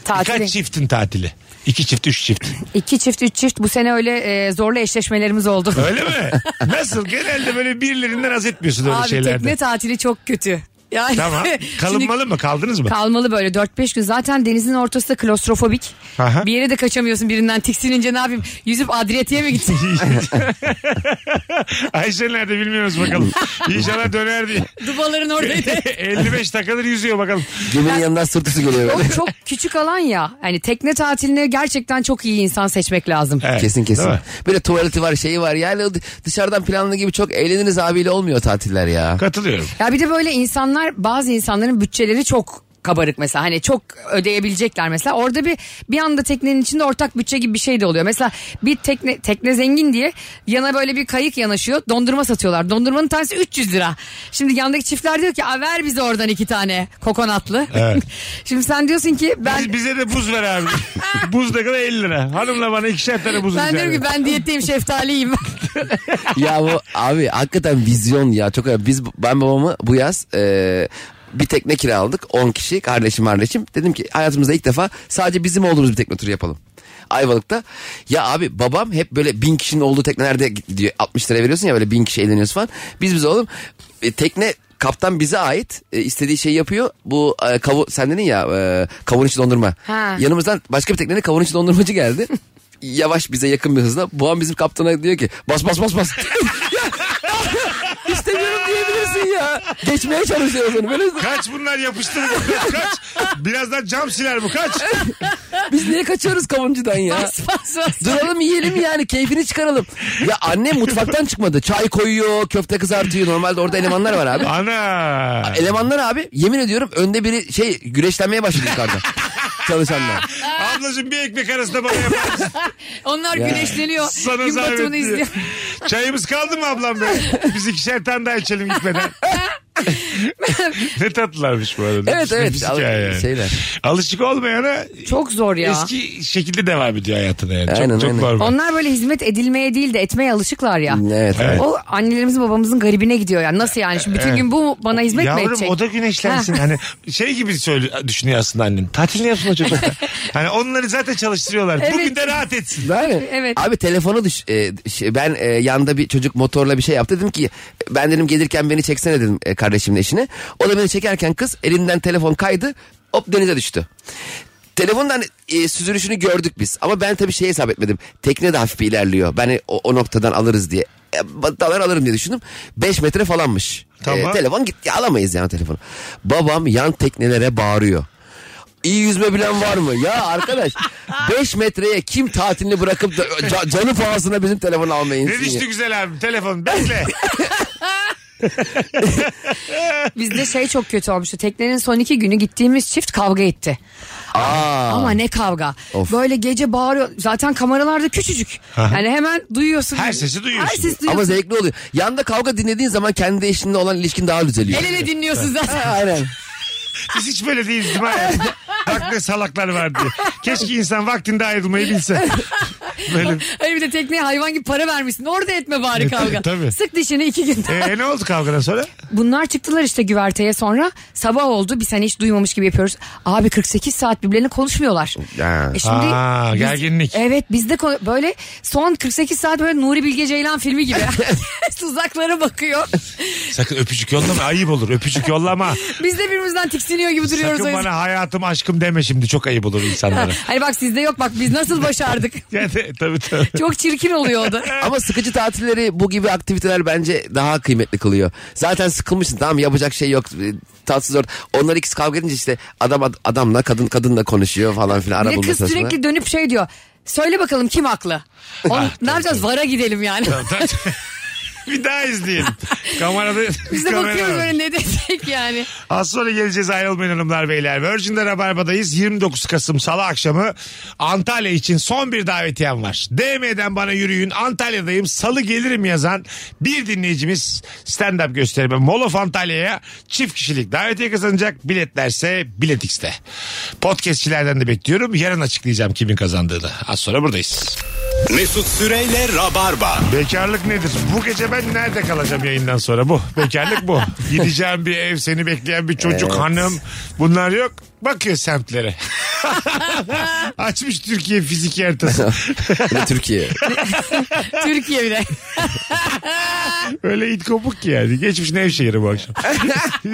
Speaker 4: Tatili.
Speaker 3: kaç çiftin tatili? İki çift, üç çift.
Speaker 4: İki çift, üç çift bu sene öyle e, zorlu eşleşmelerimiz oldu.
Speaker 3: Öyle mi? Nasıl? Genelde böyle birilerinden haz etmiyorsun öyle
Speaker 4: Abi
Speaker 3: şeylerde.
Speaker 4: tekne tatili çok kötü. Yani
Speaker 3: Tamam. Kalınmalı mı? Kaldınız mı?
Speaker 4: Kalmalı böyle 4-5 gün. Zaten denizin ortası da klostrofobik.
Speaker 3: Aha.
Speaker 4: Bir yere de kaçamıyorsun birinden tiksinince ne yapayım? Yüzüp Adriyatik'e mi gitsin?
Speaker 3: Ayşe nerede bilmiyoruz bakalım. İnşallah döner diye.
Speaker 4: Dubaların oradaydı.
Speaker 3: 55 takılır yüzüyor bakalım.
Speaker 5: Cem'in yanından sırtısı geliyor böyle.
Speaker 4: O çok küçük alan ya. Hani tekne tatiline gerçekten çok iyi insan seçmek lazım.
Speaker 3: Evet,
Speaker 5: Kesin kesin.
Speaker 3: değil mi?
Speaker 5: Böyle tuvaleti var şeyi var. Yani o dışarıdan planlı gibi çok eğleniriz abiyle olmuyor tatiller ya.
Speaker 3: Katılıyorum.
Speaker 4: Ya bir de böyle insanlar bazı insanların bütçeleri çok kabarık mesela hani çok ödeyebilecekler mesela orada bir bir anda teknenin içinde ortak bütçe gibi bir şey de oluyor mesela bir tekne tekne zengin diye yana böyle bir kayık yanaşıyor dondurma satıyorlar dondurmanın tanesi 300 lira şimdi yandaki çiftler diyor ki "Aa, ver bize oradan iki tane kokonatlı
Speaker 3: Evet.
Speaker 4: şimdi sen diyorsun ki ben
Speaker 3: Biz- bize de buz ver abi. buz da kadar 50 lira. Hanımla bana ikişer tane buz
Speaker 4: ben
Speaker 3: rica
Speaker 4: diyorum ki
Speaker 3: ederim.
Speaker 4: ben diyetteyim şeftaliyim
Speaker 5: ya bu abi hakikaten vizyon ya çok önemli. Biz ben babamı bu yaz e, bir tekne kiraladık 10 kişi kardeşim kardeşim dedim ki hayatımızda ilk defa sadece bizim olduğumuz bir tekne turu yapalım. Ayvalık'ta ya abi babam hep böyle bin kişinin olduğu teknelerde gidiyor 60 lira veriyorsun ya böyle bin kişi eğleniyorsun falan biz biz oğlum e, tekne kaptan bize ait E, istediği şeyi yapıyor bu e, kavu, sen dedin ya e, kavun içi dondurma
Speaker 4: Ha.
Speaker 5: yanımızdan başka bir teknenin kavun içi dondurmacı geldi yavaş bize yakın bir hızla Boğan bizim kaptana diyor ki bas bas bas bas İstemiyorum diyebilirsin ya. Geçmeye çalışıyoruz onu. Böyle
Speaker 3: Kaç bunlar yapıştırdı. Kaç. Birazdan cam siler bu. Kaç.
Speaker 5: biz niye kaçıyoruz kavuncudan ya?
Speaker 4: Bas, bas, bas.
Speaker 5: Duralım yiyelim yani keyfini çıkaralım. Ya annem mutfaktan çıkmadı. Çay koyuyor, köfte kızartıyor. Normalde orada elemanlar var abi.
Speaker 3: Ana.
Speaker 5: Elemanlar abi yemin ediyorum önde biri şey güreşlenmeye başladı yukarıda. Çalışanlar.
Speaker 3: Ablacığım bir ekmek arasında bana yapar mısın?
Speaker 4: onlar güneşleniyor
Speaker 3: Sana
Speaker 4: gün
Speaker 3: zahmet
Speaker 4: batımını
Speaker 3: diye.
Speaker 4: izliyor
Speaker 3: Çayımız kaldı mı ablam be? Biz ikişer tane daha içelim gitmeden. ne tatlılarmış bu arada.
Speaker 5: Evet, evet.
Speaker 3: Nefis hikaye
Speaker 5: Al- şeyler.
Speaker 3: Alışık olmayana
Speaker 4: çok zor ya
Speaker 3: eski şekilde devam ediyor hayatına yani.
Speaker 5: Aynen,
Speaker 3: çok çok
Speaker 5: aynen.
Speaker 3: normal.
Speaker 4: Onlar böyle hizmet edilmeye değil de etmeye alışıklar ya.
Speaker 5: Evet, evet.
Speaker 4: O annelerimizin babamızın garibine gidiyor ya. Nasıl yani? Şimdi bütün gün bu bana hizmet mi
Speaker 3: Yavrum
Speaker 4: edecek?
Speaker 3: o da güneşlensin.
Speaker 4: Ha.
Speaker 3: hani şey gibi söyle, düşünüyor aslında annen. Tatil ne yapsın o çocuklar? hani onları zaten çalıştırıyorlar.
Speaker 4: Evet.
Speaker 3: Bugün de rahat etsin.
Speaker 5: Değil mi?
Speaker 4: Evet.
Speaker 5: Abi telefonu düş. e, şey, ben e, yanda bir çocuk motorla bir şey yaptı. Dedim ki ben dedim gelirken beni çeksene dedim e, kardeşimin eşine. O da beni çekerken kız elinden telefon kaydı. Hop denize düştü. Telefondan e, süzülüşünü gördük biz. Ama ben tabii şey hesap etmedim. Tekne de hafif bir ilerliyor. Ben e, o, o noktadan alırız diye. E, dalar alırım diye düşündüm. 5 metre falanmış.
Speaker 3: Tamam.
Speaker 5: E, telefon gitti. Alamayız yani telefonu. Babam yan teknelere bağırıyor. İyi yüzme bilen var mı? Ya arkadaş 5 metreye kim tatilini bırakıp da ca- canı pahasına bizim telefonu almaya
Speaker 3: Ne
Speaker 5: insin ya?
Speaker 3: düştü güzel abim telefon bekle.
Speaker 4: Bizde şey çok kötü olmuştu. Teknenin son iki günü gittiğimiz çift kavga etti.
Speaker 5: Aa,
Speaker 4: Ama ne kavga.
Speaker 5: Of.
Speaker 4: Böyle gece bağırıyor. Zaten kameralarda küçücük. Yani hemen duyuyorsun.
Speaker 3: Her sesi duyuyorsun.
Speaker 4: Her sesi
Speaker 5: ama
Speaker 4: duyuyorsun.
Speaker 5: zevkli oluyor. Yanda kavga dinlediğin zaman kendi eşinle olan ilişkin daha düzeliyor.
Speaker 4: El ele dinliyorsun zaten.
Speaker 5: Aynen.
Speaker 3: Biz hiç böyle değiliz değil mi? hayatım? Bak ne salaklar var diye. Keşke insan vaktinde ayrılmayı bilse. böyle
Speaker 4: Hayır bir de tekneye hayvan gibi para vermişsin. Orada etme bari
Speaker 3: Evet,
Speaker 4: kavga.
Speaker 3: E, tabii.
Speaker 4: Sık dişini iki günde.
Speaker 3: Ee, ne oldu kavgadan sonra?
Speaker 4: Bunlar çıktılar işte güverteye sonra sabah oldu. Biz hani hiç duymamış gibi yapıyoruz. Abi 48 saat birbirlerine konuşmuyorlar.
Speaker 5: Ya.
Speaker 4: E şimdi
Speaker 3: Aa,
Speaker 4: biz-
Speaker 3: gerginlik.
Speaker 4: Evet bizde böyle son 48 saat böyle Nuri Bilge Ceylan filmi gibi. Tuzaklara bakıyor.
Speaker 3: Sakın öpücük yollama ayıp olur. Öpücük yollama.
Speaker 4: Biz de birbirimizden tiksiniyor gibi duruyoruz. o
Speaker 3: Sakın
Speaker 4: yüzden.
Speaker 3: bana hayatım aşkım deme şimdi çok ayıp olur insanlara.
Speaker 4: Hani bak sizde yok bak biz nasıl başardık.
Speaker 3: yani, tabii tabii.
Speaker 4: Çok çirkin oluyor o da.
Speaker 5: Ama sıkıcı tatilleri bu gibi aktiviteler bence daha kıymetli kılıyor. Zaten sıkılmışsın tamam yapacak şey yok. e, Tatsız ort. Onlar ikisi kavga edince işte adam ad- adamla kadın kadınla konuşuyor falan filan. Ara
Speaker 4: Bir de
Speaker 5: bulma
Speaker 4: kız
Speaker 5: sırasında.
Speaker 4: sürekli dönüp şey diyor. Söyle bakalım kim haklı?
Speaker 3: Ah,
Speaker 4: Oğlum, ne yapacağız? Vara gidelim yani.
Speaker 3: bir daha izleyelim. Kamerada
Speaker 4: Biz de bakıyoruz
Speaker 3: kamera var.
Speaker 4: böyle ne desek yani.
Speaker 3: Az sonra geleceğiz ayrılmayın hanımlar beyler. Virgin'de Rabarba'dayız. 29 Kasım Salı akşamı Antalya için son bir davetiyem var. DM'den bana yürüyün. Antalya'dayım. Salı gelirim yazan bir dinleyicimiz stand-up gösterime Molof Antalya'ya çift kişilik davetiye kazanacak. Biletlerse Biletix'te. Podcastçilerden de bekliyorum. Yarın açıklayacağım kimin kazandığını. Az sonra buradayız.
Speaker 2: Mesut Süreyle Rabarba.
Speaker 3: Bekarlık nedir? Bu gece ben nerede kalacağım yayından sonra bu? Bekarlık bu. Gideceğim bir ev, seni bekleyen bir çocuk, hanım. Bunlar yok. Bakıyor semtlere. Açmış Türkiye fizik haritası.
Speaker 5: Bir de Türkiye.
Speaker 4: Türkiye bile.
Speaker 3: Öyle it kopuk ki yani. Geçmiş Nevşehir'e bu akşam.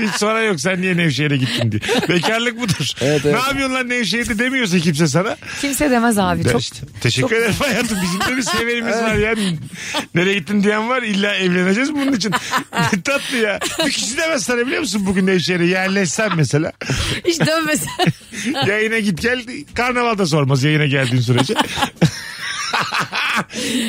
Speaker 3: Hiç sonra yok sen niye Nevşehir'e gittin diye. Bekarlık budur.
Speaker 5: evet.
Speaker 3: Ne yapıyorsun lan Nevşehir'de demiyorsa kimse sana.
Speaker 4: Kimse demez abi.
Speaker 3: Ben
Speaker 4: Çok
Speaker 3: işte, teşekkür ederim hayatım. Bizim de bir severimiz var yani. Nereye gittin diyen var. İlla evleneceğiz bunun için. Ne tatlı ya. Bir kişi demez sana biliyor musun bugün Nevşehir'e yerleşsen mesela.
Speaker 4: hiç dönmez.
Speaker 3: Yayına git gel. Karnavalda sormaz yayına geldiğin sürece.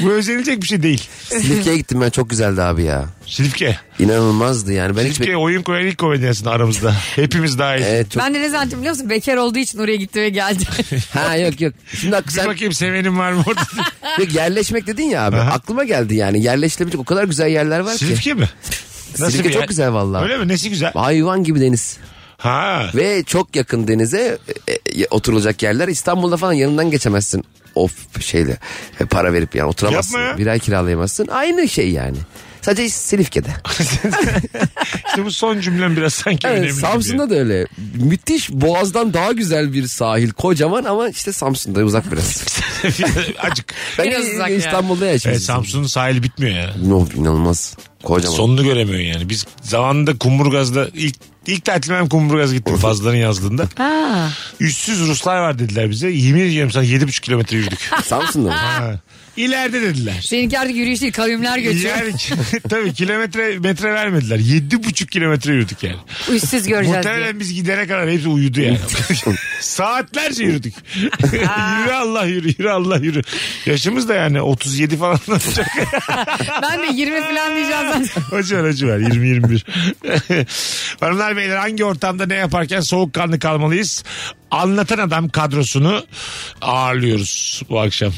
Speaker 3: Bu özenilecek bir şey değil.
Speaker 5: Silifke'ye gittim ben çok güzeldi abi ya.
Speaker 3: Silifke.
Speaker 5: İnanılmazdı yani. Ben hiç
Speaker 3: Silifke oyun koyan ilk komedyensin aramızda. Hepimiz dahil.
Speaker 5: Evet, çok...
Speaker 4: Ben de ne zannettim biliyor musun? Bekar olduğu için oraya gitti ve geldi.
Speaker 5: Ha yok yok. Şimdi ak-
Speaker 3: Bir
Speaker 5: sen
Speaker 3: bakayım sevenim var mı orada?
Speaker 5: yok, yerleşmek dedin ya abi.
Speaker 3: Aha.
Speaker 5: Aklıma geldi yani. Yerleşilebilecek o kadar güzel yerler var ki.
Speaker 3: Silifke mi?
Speaker 5: Silifke
Speaker 3: bir
Speaker 5: çok
Speaker 3: yer?
Speaker 5: güzel vallahi.
Speaker 3: Öyle mi? Nesi güzel?
Speaker 5: Hayvan gibi deniz.
Speaker 3: Ha.
Speaker 5: Ve çok yakın denize e, e, oturulacak yerler. İstanbul'da falan yanından geçemezsin. Of şeyle e, para verip yani oturamazsın.
Speaker 3: Yapma ya.
Speaker 5: Bir ay kiralayamazsın. Aynı şey yani. Sadece Silifke'de.
Speaker 3: İşte bu son cümlem biraz sanki önemli.
Speaker 5: Evet,
Speaker 3: gibi.
Speaker 5: Samsun'da da öyle. Müthiş Boğaz'dan daha güzel bir sahil. Kocaman ama işte Samsun'da uzak biraz.
Speaker 3: Acık.
Speaker 5: ben
Speaker 4: Biraz uzak ya.
Speaker 5: İstanbul'da
Speaker 3: Evet,
Speaker 5: yaşıyoruz.
Speaker 3: Samsun'un sahili bitmiyor ya.
Speaker 5: No, inanılmaz. Kocaman.
Speaker 3: Sonunu göremiyorsun yani. Biz zamanında Kumburgaz'da ilk ilk tatilim ben Kumburgaz gittim Fazla'nın yazlığında.
Speaker 4: Ha.
Speaker 3: Üstsüz Ruslar var dediler bize. Yemin ediyorum sana 7,5 kilometre yürüdük.
Speaker 5: Samsun'da mı?
Speaker 3: Ha. İleride dediler.
Speaker 4: Seninki artık yürüyüş değil kavimler göçüyor.
Speaker 3: Yani tabii kilometre metre vermediler. 7,5 kilometre yürüdük yani.
Speaker 4: Üstsüz göreceğiz diye.
Speaker 3: Muhtemelen biz gidene kadar hepsi uyudu yani. Saatlerce yürüdük. yürü Allah yürü, yürü Allah yürü. Yaşımız da yani 37 falan olacak.
Speaker 4: Ben de 20 falan diyeceğim ben.
Speaker 3: Acı var acı var 20-21. Hanımlar beyler hangi ortamda ne yaparken soğukkanlı kalmalıyız? Anlatan adam kadrosunu ağırlıyoruz bu akşam.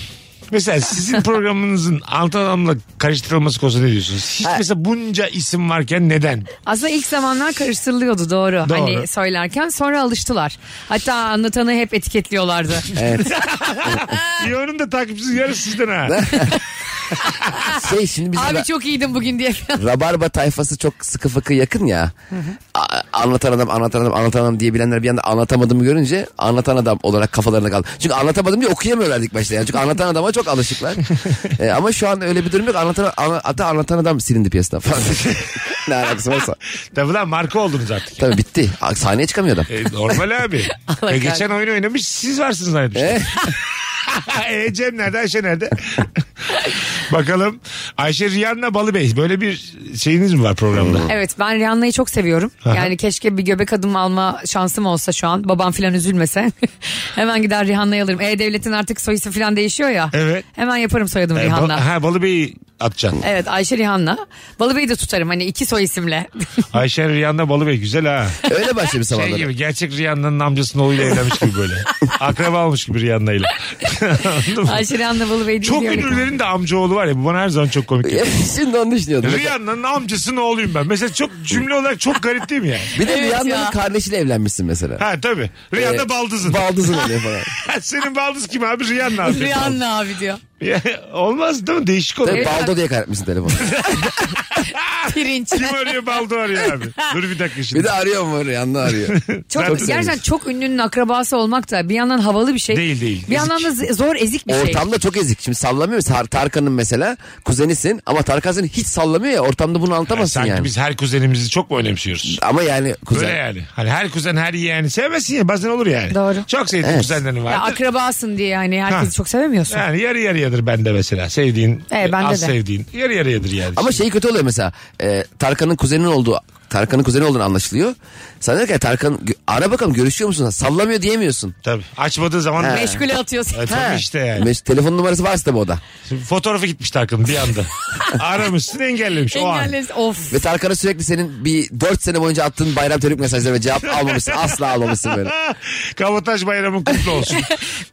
Speaker 3: Mesela sizin programınızın anlatan adamla karıştırılması konusunda ne diyorsunuz? Hiç mesela bunca isim varken neden?
Speaker 4: Aslında ilk zamanlar karıştırılıyordu doğru.
Speaker 3: Doğru.
Speaker 4: Hani söylerken sonra alıştılar. Hatta anlatanı hep etiketliyorlardı.
Speaker 3: Yarın da takipçiniz yarın sizden ha.
Speaker 5: Şey şimdi bizim
Speaker 4: Abi
Speaker 5: ra-
Speaker 4: çok iyiydin bugün diye.
Speaker 5: Rabarba tayfası çok sıkı fıkı yakın ya. A- anlatan adam anlatan adam anlatan adam diye bilenler bir anda anlatamadığımı görünce anlatan adam olarak kafalarına kaldı. Çünkü anlatamadım diye okuyamıyorlar ilk başta. Yani. Çünkü anlatan adama çok alışıklar. E, ama şu an öyle bir durum yok. Anlatan, ana- hatta anlatan adam silindi piyasadan falan. ne alakası varsa.
Speaker 3: Tabii lan marka oldunuz artık.
Speaker 5: Tabii bitti. A- Sahneye çıkamıyor adam.
Speaker 3: E, normal abi.
Speaker 4: Allah
Speaker 3: E, geçen
Speaker 4: kahretsin.
Speaker 3: oyun oynamış siz varsınız zannetmiştim. e, Cem nerede Ayşe nerede? Bakalım Ayşe Riyan'la Balıbey böyle bir şeyiniz mi var programda?
Speaker 4: Evet ben Rihanna'yı çok seviyorum. Yani keşke bir göbek adım alma şansım olsa şu an. Babam filan üzülmese. Hemen gider Rihanna'yı alırım. E-Devlet'in artık soy isim filan değişiyor ya.
Speaker 3: Evet.
Speaker 4: Hemen yaparım soyadım
Speaker 3: E, Ba-
Speaker 4: Rihanna.
Speaker 3: ha Balıbey'i atacaksın.
Speaker 4: Evet Ayşe Rihanna. Balıbey'i de tutarım hani iki soy isimle.
Speaker 3: Ayşe Rihanna Balıbey güzel ha.
Speaker 5: Öyle başlamış
Speaker 3: Şey
Speaker 5: sabahları.
Speaker 3: gibi gerçek Rihanna'nın amcasının oğluyla evlenmiş gibi böyle. Akraba olmuş gibi Rihanna ile. Anladın mı?
Speaker 4: Ayşe Rihanna Balıbey
Speaker 3: Çok
Speaker 4: diye.
Speaker 3: ünlülerin de amcaoğlu var ya bu bana her zaman çok komik geliyor.
Speaker 5: Şimdi onu düşünüyordum.
Speaker 3: Rihanna'nın amcasının oğluyum ben. Mesela çok cümle olarak çok garip değil mi yani?
Speaker 5: Bir de
Speaker 4: Evet ya.
Speaker 5: Rihanna'nın kardeşiyle evlenmişsin mesela.
Speaker 3: Ha tabii. Rihanna
Speaker 5: Ee,
Speaker 3: baldızın.
Speaker 5: Baldızın oluyor falan.
Speaker 3: Senin baldız kim abi? Rihanna abi.
Speaker 4: Rihanna abi diyor.
Speaker 3: Ya, Olmaz değil mi? Değişik olur.
Speaker 5: Tabii Baldo diye kaybetmişsin telefonu.
Speaker 4: Pirinç.
Speaker 3: Kim arıyor baldo arıyor abi. Dur bir dakika şimdi.
Speaker 5: Bir de arıyor mu Rihanna arıyor.
Speaker 4: Çok,
Speaker 3: Çok
Speaker 4: gerçekten
Speaker 5: sevmiş.
Speaker 4: çok ünlünün akrabası olmak da bir yandan havalı bir şey.
Speaker 3: Değil, değil.
Speaker 4: Bir yandan da z- zor ezik bir şey.
Speaker 5: Ortamda çok ezik. Şimdi sallamıyor. Tar- Tarkan'ın mesela kuzenisin ama Tarkan seni hiç sallamıyor ya. Ortamda bunu
Speaker 3: Ha,
Speaker 5: anlatamazsın
Speaker 3: sanki
Speaker 5: yani.
Speaker 3: biz her kuzenimizi çok mu önemsiyoruz?
Speaker 5: Ama yani kuzen.
Speaker 3: Böyle yani. Hani her kuzen her yeğeni sevmesin ya bazen olur yani.
Speaker 4: Doğru.
Speaker 3: Çok sevdiğim
Speaker 5: Evet.
Speaker 3: kuzenlerim
Speaker 4: Ya
Speaker 3: vardır.
Speaker 4: akrabasın diye yani herkesi
Speaker 3: Ha.
Speaker 4: çok sevemiyorsun.
Speaker 3: Yani yarı yarıyadır bende mesela. Sevdiğin,
Speaker 4: Evet, bende
Speaker 3: az
Speaker 4: de.
Speaker 3: sevdiğin. Yarı yarıyadır yani.
Speaker 5: Ama şey kötü oluyor mesela. e, Tarkan'ın kuzeninin olduğu Tarkan'ın kuzeni olduğunu anlaşılıyor. Sana diyor ki Tarkan gö- ara bakalım görüşüyor musun? Sallamıyor diyemiyorsun.
Speaker 3: Tabii. Açmadığı zaman...
Speaker 5: Ha.
Speaker 3: Ha.
Speaker 4: Meşgule atıyorsun.
Speaker 3: Tabii işte yani.
Speaker 5: Meş- telefon numarası varsa tabii o da.
Speaker 3: Şimdi fotoğrafı gitmiş Tarkan'ın bir anda. Aramışsın engellemiş o an.
Speaker 4: Engellesin. Of.
Speaker 5: Ve Tarkan'a sürekli senin bir 4 sene boyunca attığın bayram tebrik mesajları ve cevap almamışsın. asla almamışsın böyle.
Speaker 3: Kabotaj bayramın kutlu olsun.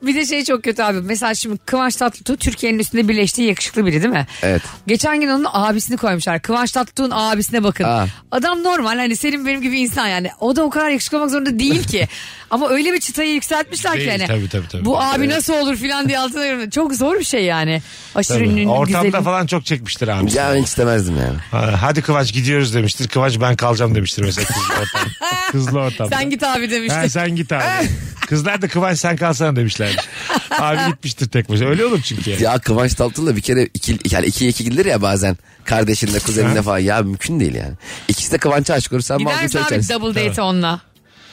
Speaker 4: Bir de şey çok kötü abi. Mesela şimdi Kıvanç Tatlıtuğ Türkiye'nin üstünde birleştiği yakışıklı biri değil mi?
Speaker 5: Evet.
Speaker 4: Geçen gün onun abisini koymuşlar. Kıvanç Tatlıtuğ'un abisine bakın.
Speaker 5: Aa.
Speaker 4: Adam normal hani senin benim gibi insan yani. O da o kadar yakışıklı olmak zorunda değil ki. Ama öyle bir çıtayı yükseltmişler ki
Speaker 3: Değil,
Speaker 4: hani.
Speaker 3: tabii, tabii, tabii.
Speaker 4: Bu abi nasıl olur filan diye altına yorumluyor. Çok zor bir şey yani. Aşırı
Speaker 3: Tabii.
Speaker 4: ünlünün
Speaker 3: Ortamda
Speaker 4: güzeli.
Speaker 3: falan çok çekmiştir abi.
Speaker 5: Ya ben hiç istemezdim yani.
Speaker 3: Ha, Hadi Kıvanç gidiyoruz demiştir. Kıvanç ben kalacağım demiştir mesela kızlı ortam. kızlı ortamda.
Speaker 4: Sen git abi demişti.
Speaker 3: Ha, sen git abi. Kızlar da Kıvanç sen kalsana demişlerdi. abi gitmiştir tek başına. Öyle olur çünkü yani.
Speaker 5: Ya Kıvanç Tatlıtuğ'la bir kere iki, yani ikiye iki gidilir ya bazen. Kardeşinle, kuzeninle falan. Ya mümkün değil yani. İkisi de Kıvanç'a aşık olur. Sen mahvur
Speaker 4: Gidersin
Speaker 5: çay
Speaker 4: abi
Speaker 5: içersin.
Speaker 4: double date onunla.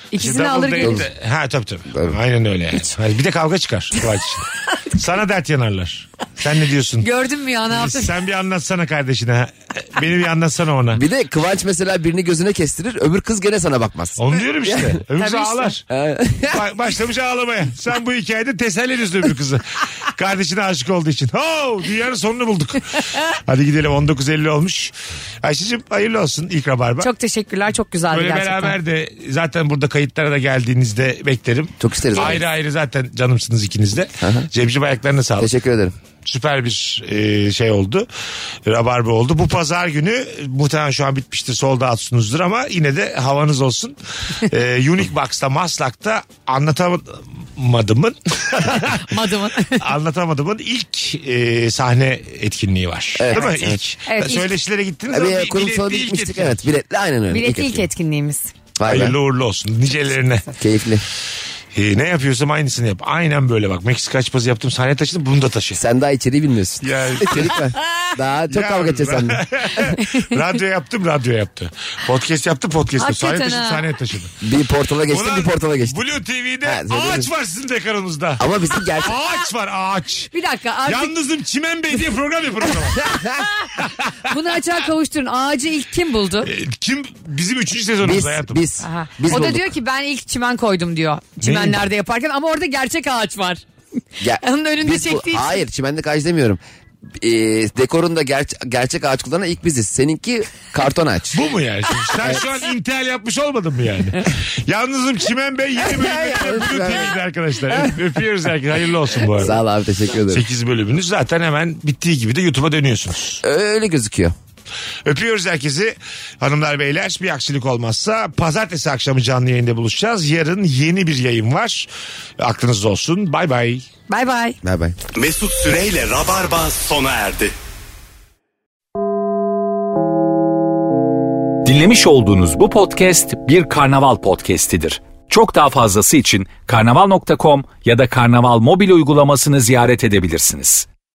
Speaker 3: Şimdi
Speaker 4: İkisini
Speaker 3: double
Speaker 4: alır
Speaker 3: date
Speaker 4: gelir.
Speaker 3: de- Ha tabii tabii. Aynen öyle yani. Hani bir de kavga çıkar Kıvanç. Sana dert yanarlar. Sen ne diyorsun?
Speaker 4: Gördün mü ya ne yaptın?
Speaker 3: sen bir anlatsana kardeşine. ha. Beni bir anlatsana ona.
Speaker 5: Bir de Kıvanç mesela birini gözüne kestirir. Öbür kız gene sana bakmaz.
Speaker 3: Onu diyorum işte. Öbür kız
Speaker 4: Tabii işte.
Speaker 3: ağlar. Ba- başlamış ağlamaya. Sen bu hikayede teselli ediyorsun öbür kızı. Kardeşine aşık olduğu için. Ho! Dünyanın sonunu bulduk. Hadi gidelim 19.50 olmuş. Ayşe'cim hayırlı olsun ilk rabarba.
Speaker 4: Çok teşekkürler çok güzeldi
Speaker 3: Böyle
Speaker 4: gerçekten.
Speaker 3: beraber de zaten burada kayıtlara da geldiğinizde beklerim.
Speaker 5: Çok isteriz.
Speaker 3: Ayrı ayrı zaten canımsınız ikiniz de. Cemciğim ayaklarına sağlık.
Speaker 5: Teşekkür ederim.
Speaker 3: Süper bir e, şey oldu. Rabarba oldu. Bu pazar günü muhtemelen şu an bitmiştir. Solda atsunuzdur ama yine de havanız olsun. E, Unique Box'ta Maslak'ta anlatamadımın
Speaker 4: Madımın.
Speaker 3: anlatamadımın ilk e, sahne etkinliği var.
Speaker 5: Evet,
Speaker 3: Değil mi?
Speaker 5: evet.
Speaker 3: İlk.
Speaker 4: Evet, ilk.
Speaker 3: Söyleşilere gittiniz ama
Speaker 5: Bir
Speaker 3: bir-
Speaker 5: kurumsala
Speaker 3: biletli ilk
Speaker 5: gitmiştik
Speaker 3: etkinlik.
Speaker 5: evet. Biletli aynen öyle.
Speaker 4: Bileti ilk
Speaker 5: etkinlik.
Speaker 4: etkinliğimiz.
Speaker 5: Vay be.
Speaker 3: Hayırlı uğurlu olsun. Nicelerine.
Speaker 5: Keyifli.
Speaker 3: E, ne yapıyorsam aynısını yap. Aynen böyle bak. Meksika açması yaptım. Sahne taşıdım. Bunu da taşı.
Speaker 5: Sen daha içeriği bilmiyorsun.
Speaker 3: Ya-
Speaker 5: İçerik var. Daha çok
Speaker 3: Ya-
Speaker 5: kavga edeceğiz senden.
Speaker 3: radyo yaptım radyo yaptı. Podcast yaptım podcast yaptı. Sahne
Speaker 4: Hakikaten
Speaker 3: taşıdı
Speaker 4: ha.
Speaker 3: sahneye taşıdı.
Speaker 5: Bir portala geçtim
Speaker 3: Ulan,
Speaker 5: bir portala geçtim.
Speaker 3: Blue TV'de
Speaker 5: Ha, söyledim.
Speaker 3: ağaç var sizin dekarınızda.
Speaker 5: Ama bizim gerçek...
Speaker 3: ağaç var ağaç.
Speaker 4: Bir dakika artık
Speaker 3: Yalnızım Çimen Bey diye program yapın o zaman.
Speaker 4: bunu açığa kavuşturun. Ağacı ilk kim buldu?
Speaker 3: E, Kim bizim üçüncü sezonumuz
Speaker 5: Biz,
Speaker 3: hayatım.
Speaker 5: biz,
Speaker 4: Aha.
Speaker 5: biz
Speaker 4: o da
Speaker 5: bulduk.
Speaker 4: diyor ki ben ilk çimen koydum diyor. Çimenlerde yaparken ama orada gerçek ağaç var.
Speaker 5: Ya,
Speaker 4: Onun önünde
Speaker 5: biz bu-
Speaker 4: çektiği için.
Speaker 5: Hayır çimenlik ağaç demiyorum. Ee, dekorunda ger- gerçek ağaç kullanan ilk biziz. Seninki karton ağaç.
Speaker 3: Bu mu yani? şimdi? Sen şu an intihal yapmış olmadın mı yani? Yalnızım Çimen Bey yeni bölümünde Blue TV'de arkadaşlar. Öp- Öpüyoruz herkese. Hayırlı olsun bu arada.
Speaker 5: Sağ ol abi teşekkür ederim.
Speaker 3: 8 bölümünüz zaten hemen bittiği gibi de YouTube'a dönüyorsunuz.
Speaker 5: Öyle gözüküyor.
Speaker 3: Öpüyoruz herkesi. Hanımlar beyler bir aksilik olmazsa pazartesi akşamı canlı yayında buluşacağız. Yarın yeni bir yayın var. Aklınızda olsun. Bay bay.
Speaker 4: Bay bay.
Speaker 5: Bay bay.
Speaker 2: Mesut Süreyle Rabarba sona erdi.
Speaker 1: Dinlemiş olduğunuz bu podcast bir karnaval podcastidir. Çok daha fazlası için karnaval.com ya da karnaval mobil uygulamasını ziyaret edebilirsiniz.